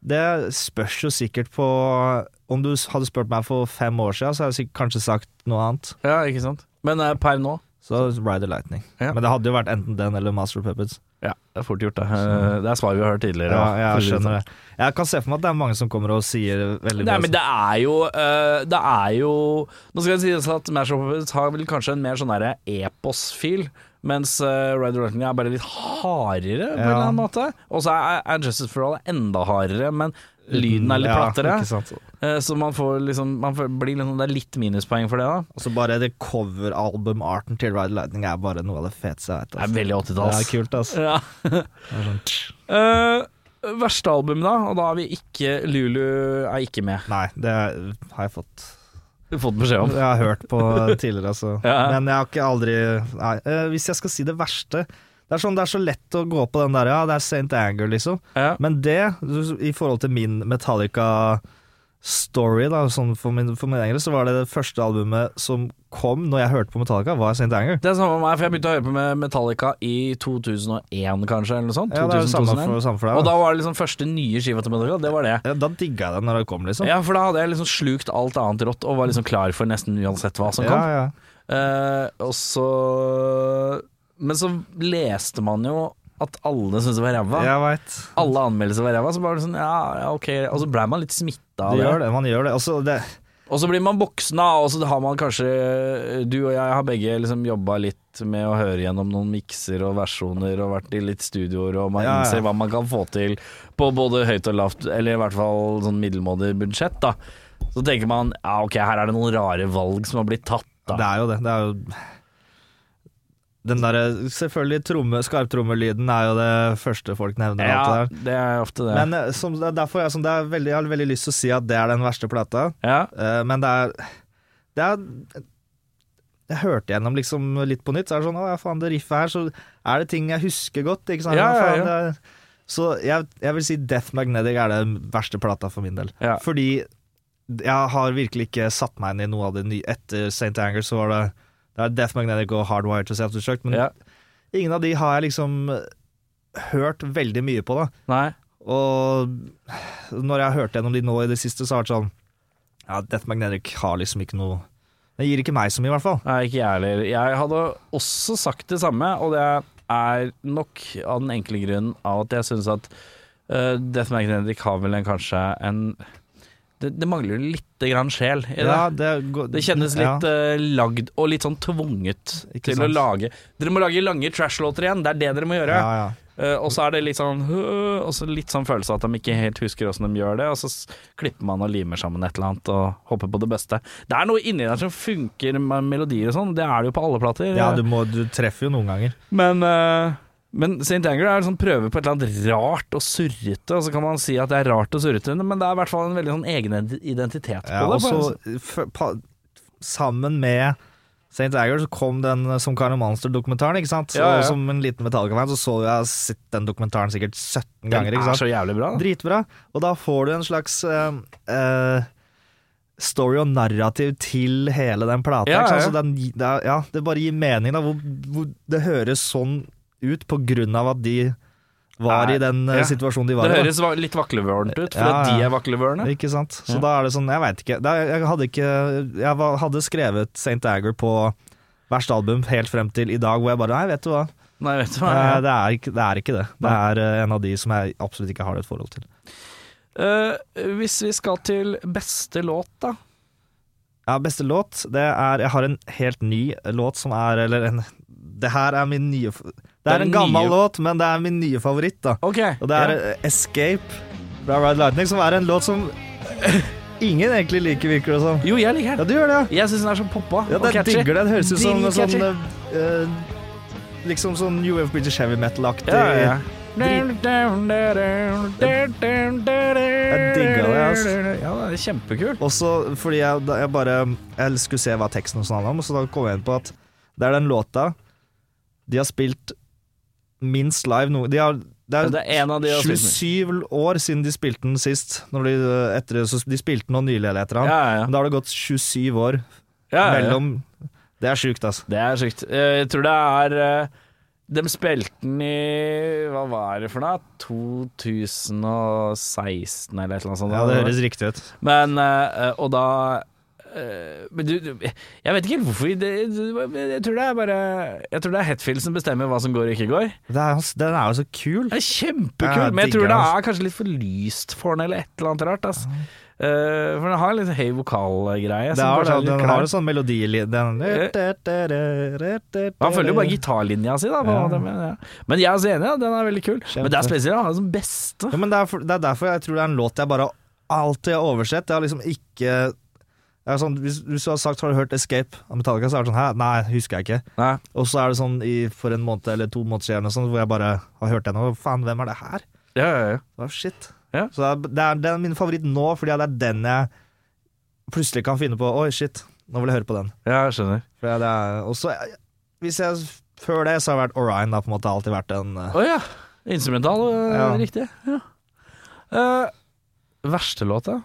S3: det spørs jo sikkert på Om du hadde spurt meg for fem år siden, så hadde jeg sikkert kanskje sagt noe annet.
S2: ja, ikke sant. Men eh, per nå
S3: Så Så Ride the Lightning.
S2: Ja.
S3: Men det hadde jo vært enten den eller Master of Puppets.
S2: Ja, det er fort gjort, det. Eh, Det er svaret vi har hørt tidligere.
S3: Ja,
S2: da, for å
S3: jeg
S2: si det sånn.
S3: skjønner det. Jeg kan se for meg at det er mange som kommer og sier veldig
S2: Nei,
S3: bra
S2: men det er jo eh, Det er jo Nå skal det sies at Mash of Puppets har vel kanskje en mer sånn derre epos-fil, mens uh, Ride the Lightning er bare litt hardere, på en
S3: Ja.
S2: eller annen måte. Og så er, er Justice for All enda hardere, men lyden er litt plattere.
S3: Ja, ikke sant?
S2: Eh, så man får liksom Man får, blir liksom, Det er litt minuspoeng for det, da.
S3: Og så bare det coveralbumarten til Ride the Lightning er bare noe av det feteste jeg vet. altså.
S2: Det er veldig 80-talls.
S3: Det er kult, ass. sånn,
S2: Ja. Eh, verste album, da? Og da er vi ikke Lulu er ikke med.
S3: Nei, det har jeg fått
S2: Du har fått beskjed om.
S3: Jeg har hørt på tidligere, altså.
S2: Ja.
S3: Men jeg har ikke aldri Nei. eh, hvis jeg skal si det verste Det er sånn det er så lett å gå på den der, ja, det er St. Anger, liksom.
S2: Ja.
S3: Men det, i forhold til min Metallica-story, da, sånn for min, for min engel, så var det det første albumet som kom når jeg hørte på Metallica, var St. Anger.
S2: Det er samme med meg, for jeg begynte å høre på med Metallica i 2001, kanskje, eller noe sånt.
S3: Ja, det er jo
S2: 2000,
S3: samme
S2: 2001.
S3: for, samme for
S2: Og
S3: deg.
S2: da
S3: Da.
S2: var det liksom første nye skiva til Metallica, det var det.
S3: Ja, da digga jeg den når det kom, liksom.
S2: Ja, for da hadde jeg liksom slukt alt annet rått, og var liksom klar for nesten uansett hva som
S3: ja,
S2: kom.
S3: ja.
S2: Eh, og så Men så leste man jo at alle syntes det var ræva.
S3: Jeg veit.
S2: Alle anmeldelser var ræva, så bare sånn ja, ja, ok. Og så blei man litt smitta
S3: Du
S2: av det.
S3: gjør det, man gjør det. Altså, det
S2: Og så blir man voksen, da, og så har man kanskje Du og jeg har begge liksom jobba litt med å høre gjennom noen mikser og versjoner og vært i litt studioer, og man
S3: Ja, ja.
S2: innser hva man kan få til på både høyt og lavt, eller i hvert fall sånn middelmådig budsjett, da. Så tenker man ja, ok, her er det noen rare valg som har blitt tatt,
S3: Det
S2: da.
S3: er jo det. Det er jo Den derre Selvfølgelig tromme, skarptrommelyden er jo det første folk nevner. og
S2: Ja,
S3: alt det der.
S2: det er ofte det.
S3: Men eh, som, det er derfor jeg, som det er veldig, jeg har veldig lyst til å si at det er den verste plata,
S2: ja.
S3: eh, men det er Det er jeg hørte gjennom liksom litt på nytt, så er det sånn Å ja, faen, det riffet her, så er det ting jeg husker godt, ikke sant?
S2: Ja, ja,
S3: Faen,
S2: ja.
S3: det er- Så jeg, jeg vil si Death Magnetic er den verste plata for min del.
S2: Ja.
S3: Fordi jeg har virkelig ikke satt meg inn i noe av det nye. Etter St. Anger så var det Det er Death Magnetic og Hardwire to Self-Destruct, men
S2: ja.
S3: ingen av de har jeg liksom hørt veldig mye på, da.
S2: Nei.
S3: Og når jeg har hørt gjennom de nå i det siste, så har det vært sånn Ja, Death Magnetic har liksom ikke noe Det gir ikke meg så mye, i hvert fall.
S2: Nei, ikke jeg heller. Jeg hadde også sagt det samme, og det er nok av den enkle grunnen av at jeg syns at eh, Death Magnetic har vel en kanskje en Det, det mangler litt grann sjel i det.
S3: Ja, det, går-
S2: Det kjennes
S3: ja.
S2: litt eh, lagd, og litt sånn tvunget
S3: Ikke
S2: til å
S3: sant.
S2: lage Dere må lage lange trash-låter igjen, det er det dere må gjøre.
S3: Ja, ja.
S2: Eh, og så er det litt sånn «Hø», Og så litt sånn følelse av at de ikke helt husker åssen de gjør det, og så s- klipper man og limer sammen et eller annet og håper på det beste. Det er noe inni der som funker med melodier og sånn, det er det jo på alle plater.
S3: ja du, må, du treffer jo noen ganger.
S2: Men, eh, men St. Anger er liksom prøver på et eller annet rart og surrete, og så kan man si at det er rart og surrete, men det er i hvert fall en veldig sånn egen ident- identitet på
S3: Ja,
S2: det.
S3: og
S2: på en
S3: så f- pa- sammen med St. Agar så kom den eh, Som Karen Monster-dokumentaren, ikke sant?
S2: Ja, ja.
S3: Og som en liten Metallica-fan så så jeg sett den dokumentaren sikkert 17 ganger,
S2: den
S3: ikke
S2: er
S3: sant?
S2: så jævlig bra. da.
S3: Dritbra. Og da får du en slags eh, eh, story og narrativ til hele den plata,
S2: Ja,
S3: ikke sant?
S2: ja.
S3: Så den, gi- det, er- ja, det bare gir mening, da, hvor, hvor det høres sånn ut på grunn av at de var
S2: Nei,
S3: i den eh,
S2: ja.
S3: situasjonen de var
S2: Det
S3: i. da.
S2: høres va- litt vaklevørent ut, for
S3: Ja,
S2: at de
S3: ja.
S2: er vaklevørende.
S3: Ikke sant? Så
S2: Ja.
S3: da er det sånn, jeg veit ikke. Da, jeg hadde ikke Jeg var, hadde skrevet St. Agger på verste album helt frem til i dag, hvor jeg bare Nei, vet du hva.
S2: Nei, vet du hva.
S3: Eh, Det er ikke det. Er ikke det. det er eh, en av de som jeg absolutt ikke har et forhold til.
S2: Eh, hvis vi skal til beste låt, da.
S3: Ja, beste låt, det er Jeg har en helt ny låt som er Eller en Det her er min nye f- Det er
S2: Den
S3: en gammel
S2: nye-
S3: låt, men det er min nye favoritt, da.
S2: Ok.
S3: Og det
S2: ja.
S3: er eh, Escape fra Ride Lightning, som er en låt som ingen egentlig liker, virker det som.
S2: Jo, jeg liker
S3: Ja,
S2: den.
S3: du gjør det, ja.
S2: Jeg syns den er så poppa
S3: Ja, det
S2: og catchy.
S3: digger det. Det høres ut som noe
S2: Dritcatchy.
S3: sånn eh, eh, Liksom sånn New Wave British Heavy Metal-aktig.
S2: Ja, ja.
S3: Drit-
S2: Jeg
S3: digger det, ass.
S2: Ja, det er kjempekult.
S3: Og så fordi jeg, da jeg bare Jeg skulle se hva teksten og sånn handla om, så da kom jeg inn på at det er den låta de har spilt minst live noe de har, Det
S2: Ja,
S3: er,
S2: Det er en av de jeg har spilt med.
S3: 27 år siden de spilte den sist. Når de, eh, etter, så de spilte den nå nylig eller et
S2: Ja,
S3: eller annet.
S2: ja, ja.
S3: Men da har det gått 27 år
S2: ja, ja, ja.
S3: mellom Det er sjukt, altså.
S2: Det er sjukt. Eh, Jeg tror det er eh, De spilte den i Hva var det for noe? 2016 eller et eller annet sånt.
S3: Ja, det høres riktig ut.
S2: Men, eh, og da eh, eh, men du, du, jeg vet ikke helt hvorfor det, det, Jeg tror det er bare Jeg tror det er Hetfield som bestemmer hva som går og ikke går.
S3: Det er, hans- den er jo så kul.
S2: Det er kjempekul,
S3: Jeg
S2: men jeg
S3: digger
S2: tror det
S3: det,
S2: er kanskje litt for lyst for den, eller et eller annet rart. ass. Eh, for den har en litt høy vokalgreie.
S3: Det
S2: som
S3: er,
S2: kanskje
S3: det,
S2: er litt Eh.
S3: den
S2: klar.
S3: har jo sånn melodi den.
S2: Han følger jo bare gitarlinja si, da. På
S3: Ja.
S2: en måte, men, ja. men jeg er så enig, ja, den er veldig kul. Men det er spesielt å ha den som beste.
S3: Ja, men det er, for, det er derfor jeg tror det er en låt jeg bare alltid har oversett. Jeg har liksom ikke jeg er sånn, hvis, hvis du har sagt 'Har du hørt Escape' av Metallica, så er det sånn Hæ, nei, husker jeg ikke.
S2: Nei.
S3: Og så er det sånn i, for en måned eller to måneder siden eller sånn, hvor jeg bare har hørt den, og faen, hvem er det her?
S2: Ja, ja, ja.
S3: Det var shit.
S2: Ja.
S3: Så det er, det er, den er min favoritt nå, fordi det er den jeg plutselig kan finne på Oi, shit, nå vil jeg høre på den.
S2: ja, jeg skjønner.
S3: For det er, og så, hvis jeg Før det så har jeg vært Orion, da, på en måte. Alltid vært en eh,
S2: Å ja. Instrumental, øh,
S3: Ja.
S2: riktig. Ja. Eh, verste låta?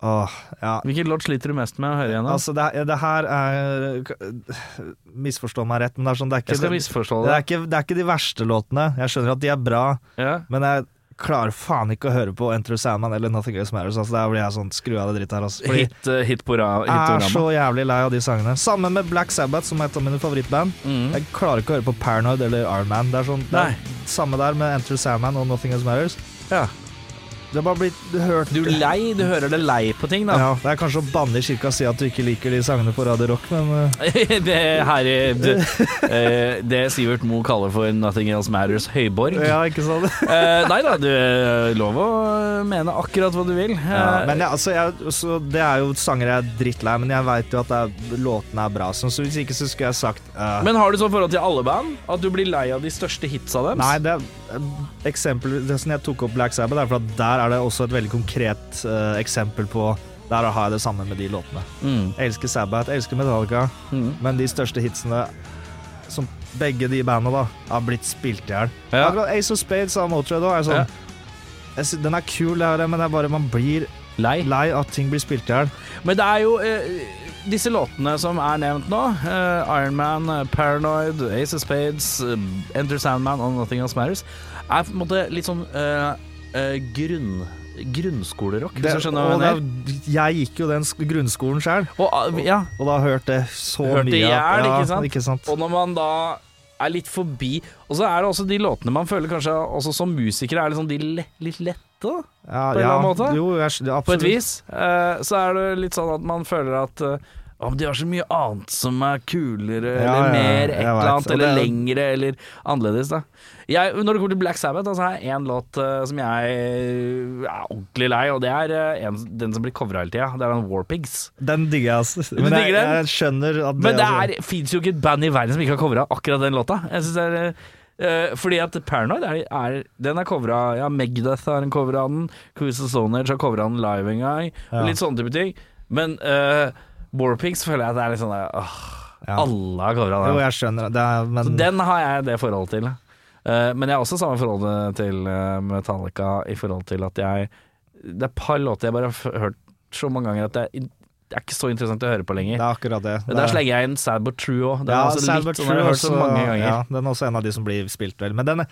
S3: Åh, ja.
S2: Hvilken låt sliter du mest med å høre igjennom?
S3: Altså, det, er- det her er Misforstå meg rett, men det er sånn Det er
S2: jeg skal
S3: ikke, det,
S2: misforstå
S3: det
S2: det.
S3: er ikke, det er ikke de verste låtene. Jeg skjønner at de er bra,
S2: Ja.
S3: men jeg klarer faen ikke å høre på Enter the Sandman eller Nothing Else Matters. Altså, der blir jeg sånn Skru av det dritt her, altså. Fordi
S2: Hit, uh, hit på ra-
S3: jeg er
S2: hit
S3: så jævlig lei av de sangene. Sammen med Black Sabbath, som er et av mine favorittband.
S2: Mm.
S3: Jeg klarer ikke å høre på Paranoid eller Iron Man. Det er sånn det
S2: Nei.
S3: er Samme der med Enter the Sandman og Nothing Else Matters.
S2: Ja.
S3: Det har bare blitt du hørt
S2: Du er lei, du hører det lei på ting, da.
S3: ja, Det er kanskje å banne i kirka og si at du ikke liker de sangene på Radio Rock, men eh,
S2: det her er det, eh, det Sivert Moe kaller for Nothing Else Matters høyborg.
S3: Ja, ikke sant?
S2: Eh, nei da, du er lov å mene akkurat hva du vil. Eh,
S3: Ja, men jeg, altså, jeg, så det er jo sanger jeg er drittlei, men jeg veit jo at det er, låtene er bra. sånn, Så hvis ikke så skulle jeg sagt eh,
S2: men har du sånn forhold til alle band at du blir lei av de største hitsa deres?
S3: Nei, det er eh, eksempel Det som jeg tok opp Black Sabbath, er for at der er det også et veldig konkret eh, eksempel på Der har jeg det samme med de låtene.
S2: Mm.
S3: Jeg elsker Sabbath, jeg elsker Metallica,
S2: Mm.
S3: men de største hitsene som begge de bandene da har blitt spilt i hjel.
S2: Ja.
S3: Akkurat Ace of Spades av Motörhead òg er sånn
S2: Ja.
S3: jeg sy- Den er kul, det her, men det er bare man blir
S2: Lei.
S3: lei av at ting blir spilt i hjel.
S2: Men det er jo eh, disse låtene som er nevnt nå, eh, Iron Man, eh, Paranoid, Ace of Spades, eh, Enter Sandman og Nothing Else Matters, er på en måte litt sånn eh, eh, grunn, grunnskolerock,
S3: Det-
S2: hvis du skjønner hva
S3: og
S2: jeg mener.
S3: det er- Jeg gikk jo den sk- grunnskolen sjøl,
S2: Og, ah, ja,
S3: og da hørte jeg så
S2: Hørte i
S3: mye av-
S2: hjel,
S3: ja,
S2: ikke sant?
S3: Ikke sant?
S2: Og når man da er litt forbi Og så er det også de låtene man føler kanskje også som musikere er liksom de le litt lette, da,
S3: Ja,
S2: på en
S3: ja,
S2: eller annen måte?
S3: Jo, jeg, skj- absolutt.
S2: på et vis. Eh, så er det litt sånn at man føler at eh, «Å, men de har så mye annet som er kulere eller
S3: Ja, ja,
S2: mer
S3: jeg
S2: et eller
S3: vet.
S2: annet,
S3: Og
S2: eller
S3: det er-
S2: lengre eller annerledes. Da. Jeg, når det kommer til Black Sabbath, altså, er én låt eh, som jeg eh, er ordentlig lei, og det er eh, en, den som blir covra hele tida. Det er den War Pigs.
S3: Den digger jeg, altså. Men jeg,
S2: digger den?
S3: jeg skjønner at det,
S2: Men det
S3: altså-
S2: er, finnes jo ikke et band i verden som ikke har covra akkurat den låta. Jeg synes det er eh, fordi at Paranoid er, er Den er covra Ja, Megadeth har en cover av den. Cruise of Stone Age har covra den live en gang.
S3: Ja.
S2: Litt sånne type ting. Men uh, Warpigs føler jeg at det er litt sånn der, åh,
S3: ja.
S2: Alle har covra
S3: Jo,
S2: den.
S3: jeg skjønner det. det er, men
S2: Så den har jeg det forholdet til. Eh, men jeg har også samme forhold til eh, Metallica i forhold til at jeg Det er et par låter jeg bare har f- hørt så mange ganger at det er, det er ikke så interessant å høre på lenger.
S3: det er akkurat det.
S2: Men Der slenger jeg inn Sad But True òg. Den,
S3: ja,
S2: er også
S3: Sad
S2: litt
S3: But
S2: sånn
S3: True
S2: jeg har hørt så
S3: også-
S2: mange ganger.
S3: Ja, den er også en av de som blir spilt vel. Men den,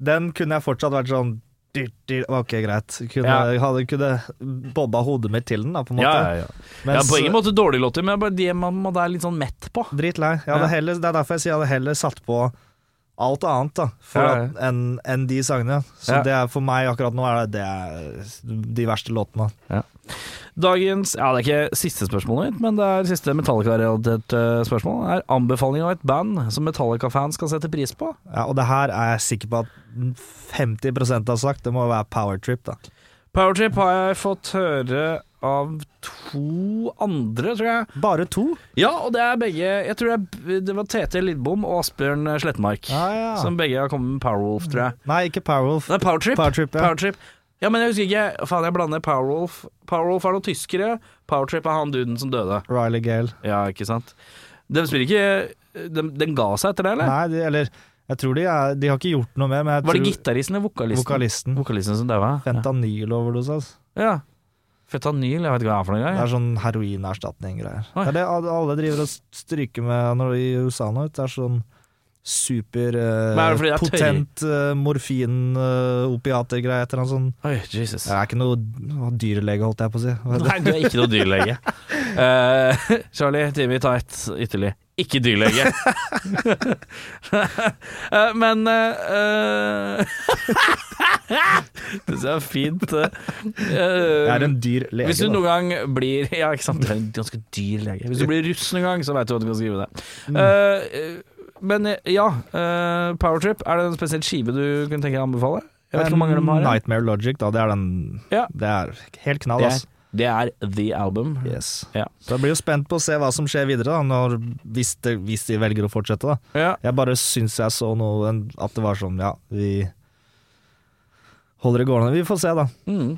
S3: den kunne jeg fortsatt vært sånn dyrt, dyrt, Ok, greit. Kunne,
S2: Ja.
S3: hadde, kunne bobba hodet mitt til den, da, på en måte.
S2: Ja, ja, ja. ja,
S3: Mens-
S2: på ingen måte dårlige låter, men bare de man, man er litt sånn mett på.
S3: Dritlei. Jeg hadde
S2: Ja.
S3: heller, det er derfor jeg sier jeg hadde heller satt på alt annet da for
S2: Ja, ja.
S3: at- enn enn de sangene. Så
S2: Ja.
S3: det er, for meg akkurat nå er det, det er de verste låtene.
S2: Dagens Ja, det er ikke siste spørsmålet mitt, men det er siste Metallica-relatert eh, spørsmål. er anbefaling av et band som Metallica-fans kan sette pris på.
S3: Ja, og det her er jeg sikker på at 50 har sagt. Det må være Power Trip, da.
S2: Powertrip har jeg fått høre av to andre, tror jeg.
S3: Bare to?
S2: Ja, og det er begge Jeg tror det, er, det var Tete Lidbom og Asbjørn Slettmark.
S3: Ja, ja.
S2: Som begge har kommet med Powerwolf, tror jeg.
S3: Nei, ikke Powerwolf.
S2: Ah. Det er Powertrip.
S3: Power Trip, ja.
S2: Power Trip. Ja, men jeg husker ikke. Faen, jeg blander Powerwolf. Powerwolf er noen tyskere. Powertrip er han duden som døde.
S3: Riley Gale.
S2: Ja, ikke sant. De spiller ikke de, Den ga seg etter det, eller?
S3: Nei, de, eller jeg tror de er De har ikke gjort noe med, men jeg
S2: Var det
S3: tror
S2: gitaristen eller vokalisten?
S3: vokalisten.
S2: Vokalisten som daua? Ja.
S3: Fentanyloverdose, altså.
S2: ja. Fentanyl, jeg vet ikke hva det er for noe.
S3: Det
S2: jeg.
S3: er sånn heroinerstatning-greier.
S2: Oi.
S3: Det er det alle driver og stryker med når i USA nå. Det er sånn eh,
S2: Men er det fordi det er
S3: superpotent morfin-opiater-greie, eh, et eller annet sånt.
S2: Oi, Jesus.
S3: Jeg er ikke noe dyrlege, holdt jeg på å si. Hva er det?
S2: Nei, du er ikke noe dyrlege. Eh, Charlie, Timmy, ta et ytterlig. Ikke dyrlege. Eh, men eh, Det ser fint eh, eh,
S3: Jeg er en dyr lege.
S2: Hvis du
S3: da.
S2: noen gang blir Ja, ikke sant, du er en ganske dyr lege. Hvis du blir russ noen gang, så veit du at du kan skrive det.
S3: Mm.
S2: Eh, eh, men eh, ja, eh, Powertrip. Er det en spesiell skive du kunne tenke deg å anbefale? Jeg vet ikke hvor mange de har.
S3: Nightmare Logic, da. Det er den
S2: Ja.
S3: Det er helt knall,
S2: Det
S3: ass.
S2: er, det er The Album.
S3: Yes.
S2: Ja.
S3: Så jeg blir jo spent på å se hva som skjer videre, da, når, hvis, det, hvis de velger å fortsette. da.
S2: Ja.
S3: Jeg bare syns jeg så noe At det var sånn, ja, vi holder det gående. Vi får se, da.
S2: Mm.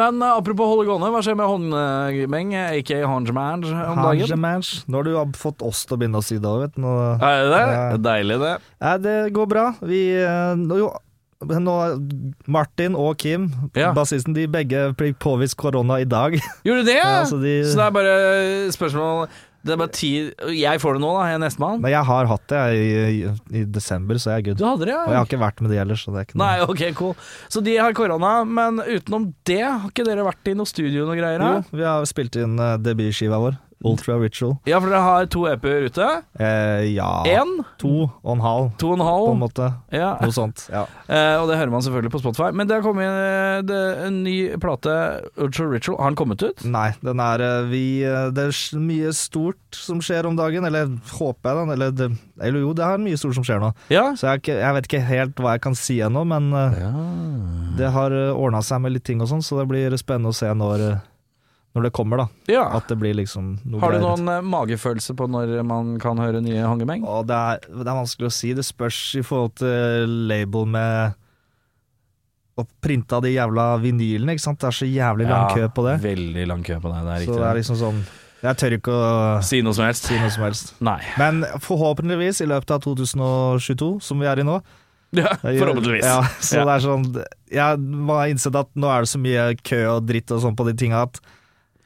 S2: Men eh, apropos holde gående, hva skjer med eh, håndgemeng, aka Hongeman, eh, om
S3: Hange
S2: dagen?
S3: match. Nå har du ab- fått oss til å begynne å si det òg, vet du. Nå-
S2: Er det det?
S3: Ja.
S2: Deilig, det.
S3: Nei, det går bra. Vi eh, nå, jo, nå, Martin og Kim,
S2: Ja.
S3: bassisten, de begge ble påvist korona i dag.
S2: Gjorde det?
S3: Ja,
S2: så,
S3: så de-
S2: det er bare spørsmål Det er bare ti Jeg får det nå, da. Jeg er nestemann.
S3: Men jeg har hatt det jeg, i, i, i desember, så jeg er good.
S2: Du hadde det,
S3: Og jeg
S2: ja?
S3: har ikke vært med de ellers, så det er ikke
S2: Nei,
S3: noe
S2: ok, cool. Så de har korona, men utenom det, har ikke dere vært i noe studio og noe greier? da?
S3: Jo, vi har spilt inn eh, debutskiva vår, Ultra Ritual.
S2: Ja, for dere har to EP-er ute.
S3: Eh, ja
S2: Én,
S3: To og en halv,
S2: to og en
S3: på en
S2: halv.
S3: måte.
S2: Ja.
S3: Noe sånt. Ja.
S2: Eh, og det hører man selvfølgelig på Spotify. Men det har kommet inn, eh, det, en ny plate, Ultra Ritual. Har den kommet ut?
S3: Nei, den er eh, vi eh, Det er s- mye stort som skjer om dagen, eller håper jeg den, eller det, Eller jo, det er mye stort som skjer nå.
S2: Ja.
S3: Så jeg, har ikke- jeg vet ikke helt hva jeg kan si ennå, men eh, det har ordna seg med litt ting og sånn, så det blir spennende å se når, eh, når det kommer, da.
S2: ja.
S3: At det blir liksom noe
S2: Har du
S3: greier.
S2: noen eh, magefølelse på når man kan høre nye hangemeng?
S3: Og det er, det er vanskelig å si. Det spørs i forhold til label med å printe av de jævla vinylene, ikke sant. Det er så jævlig lang kø på det.
S2: Veldig lang kø på det, det er
S3: så det er
S2: riktig.
S3: liksom sånn Jeg tør ikke å
S2: Si noe som helst.
S3: si noe som helst.
S2: Nei.
S3: Men forhåpentligvis i løpet av 2022, som vi er i nå
S2: Ja,
S3: jeg gjør-
S2: forhåpentligvis.
S3: Ja, så
S2: Ja.
S3: det er sånn Jeg må ha innsett at nå er det så mye kø og dritt og sånn på de tinga at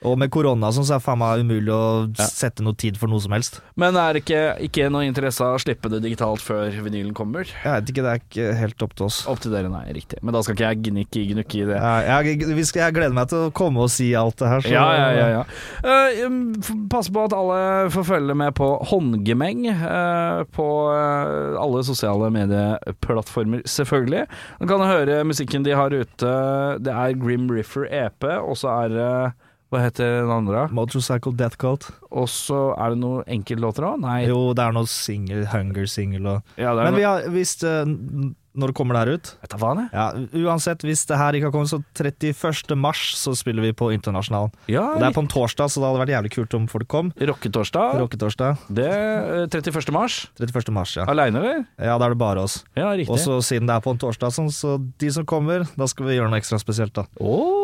S3: Og med korona og sånn, så er det faen meg umulig å
S2: Ja.
S3: sette noe tid for noe som helst.
S2: Men er det ikke, ikke noe interesse av å slippe det digitalt før vinylen kommer?
S3: Jeg vet ikke, det er ikke helt opp til oss.
S2: Opp til dere, nei. Riktig. Men da skal ikke jeg gnikke gnukke i det.
S3: Ja, jeg, vi skal, jeg gleder meg til å komme og si alt det her. så-
S2: Ja, ja, ja, ja. Eh, um, f- pass på at alle får følge med på håndgemeng eh, på eh, alle sosiale medieplattformer, selvfølgelig. Du kan høre musikken de har ute. Det er Grim Riffer EP, og så er det Hva heter den andre?
S3: Motorcycle Death Cult.
S2: Og så er det noen enkeltlåter òg? Nei.
S3: Jo, det er noe single, hunger single og
S2: Ja, det er
S3: Men
S2: noe-
S3: vi har, hvis det, n- når det kommer det her ut
S2: Vet du hva, det?
S3: ja, Uansett, hvis det her ikke har kommet, så 31. mars så spiller vi på Internasjonal.
S2: Ja,
S3: Og det er på en torsdag, så det hadde vært jævlig kult om folk kom.
S2: Rocketorsdag.
S3: Rocketorsdag.
S2: Det eh, 31. mars.
S3: 31. mars, ja.
S2: Aleine, eller?
S3: Ja, da er det bare oss.
S2: Ja, riktig.
S3: Og så siden det er på en torsdag, sånn, så de som kommer, da skal vi gjøre noe ekstra spesielt, da.
S2: Åh,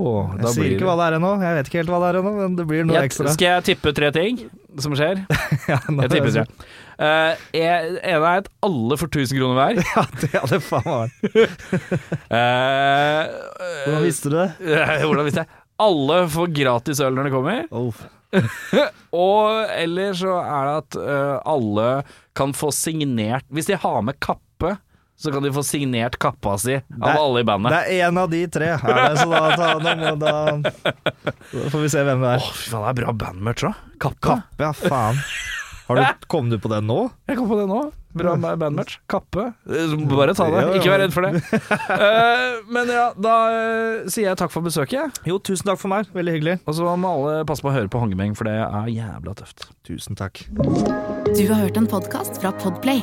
S3: Jeg
S2: da
S3: sier
S2: blir
S3: ikke hva det er ennå, jeg vet ikke helt hva det er ennå, men det blir noe
S2: Jeg-
S3: ekstra.
S2: Skal jeg tippe tre ting som skjer?
S3: Ja, nå-
S2: Jeg tipper tre. Uh, ene er at alle får 1000 kroner hver.
S3: Ja, det hadde faen meg vært
S2: Eh,
S3: Hvordan visste du det?
S2: eh, hvordan visste jeg? Alle får gratis øl når de kommer. Og eller så er det at eh, alle kan få signert Hvis de har med kappe, så kan de få signert kappa si av
S3: Nei,
S2: alle i
S3: Det
S2: bandet.
S3: er én av de tre, er det, så da, da, da, må- da, da får vi se hvem det
S2: Å,
S3: er.
S2: fy faen, det er bra bandmerch òg. Kappe.
S3: Kappe, ja faen. Har du, kom du på det nå?
S2: Jeg kom på det nå. Bra med bandmatch. Kappe. Eh, Bare ta det.
S3: Mm. Ja, ja.
S2: Ikke vær redd for det. Eh, men ja, da eh, sier jeg takk for besøket.
S3: Jo, tusen takk for meg. Veldig hyggelig.
S2: Og så må alle passe på å høre på Hangemeng, for det er jævla tøft.
S3: Tusen takk.
S1: Du har hørt en podkast fra Podplay.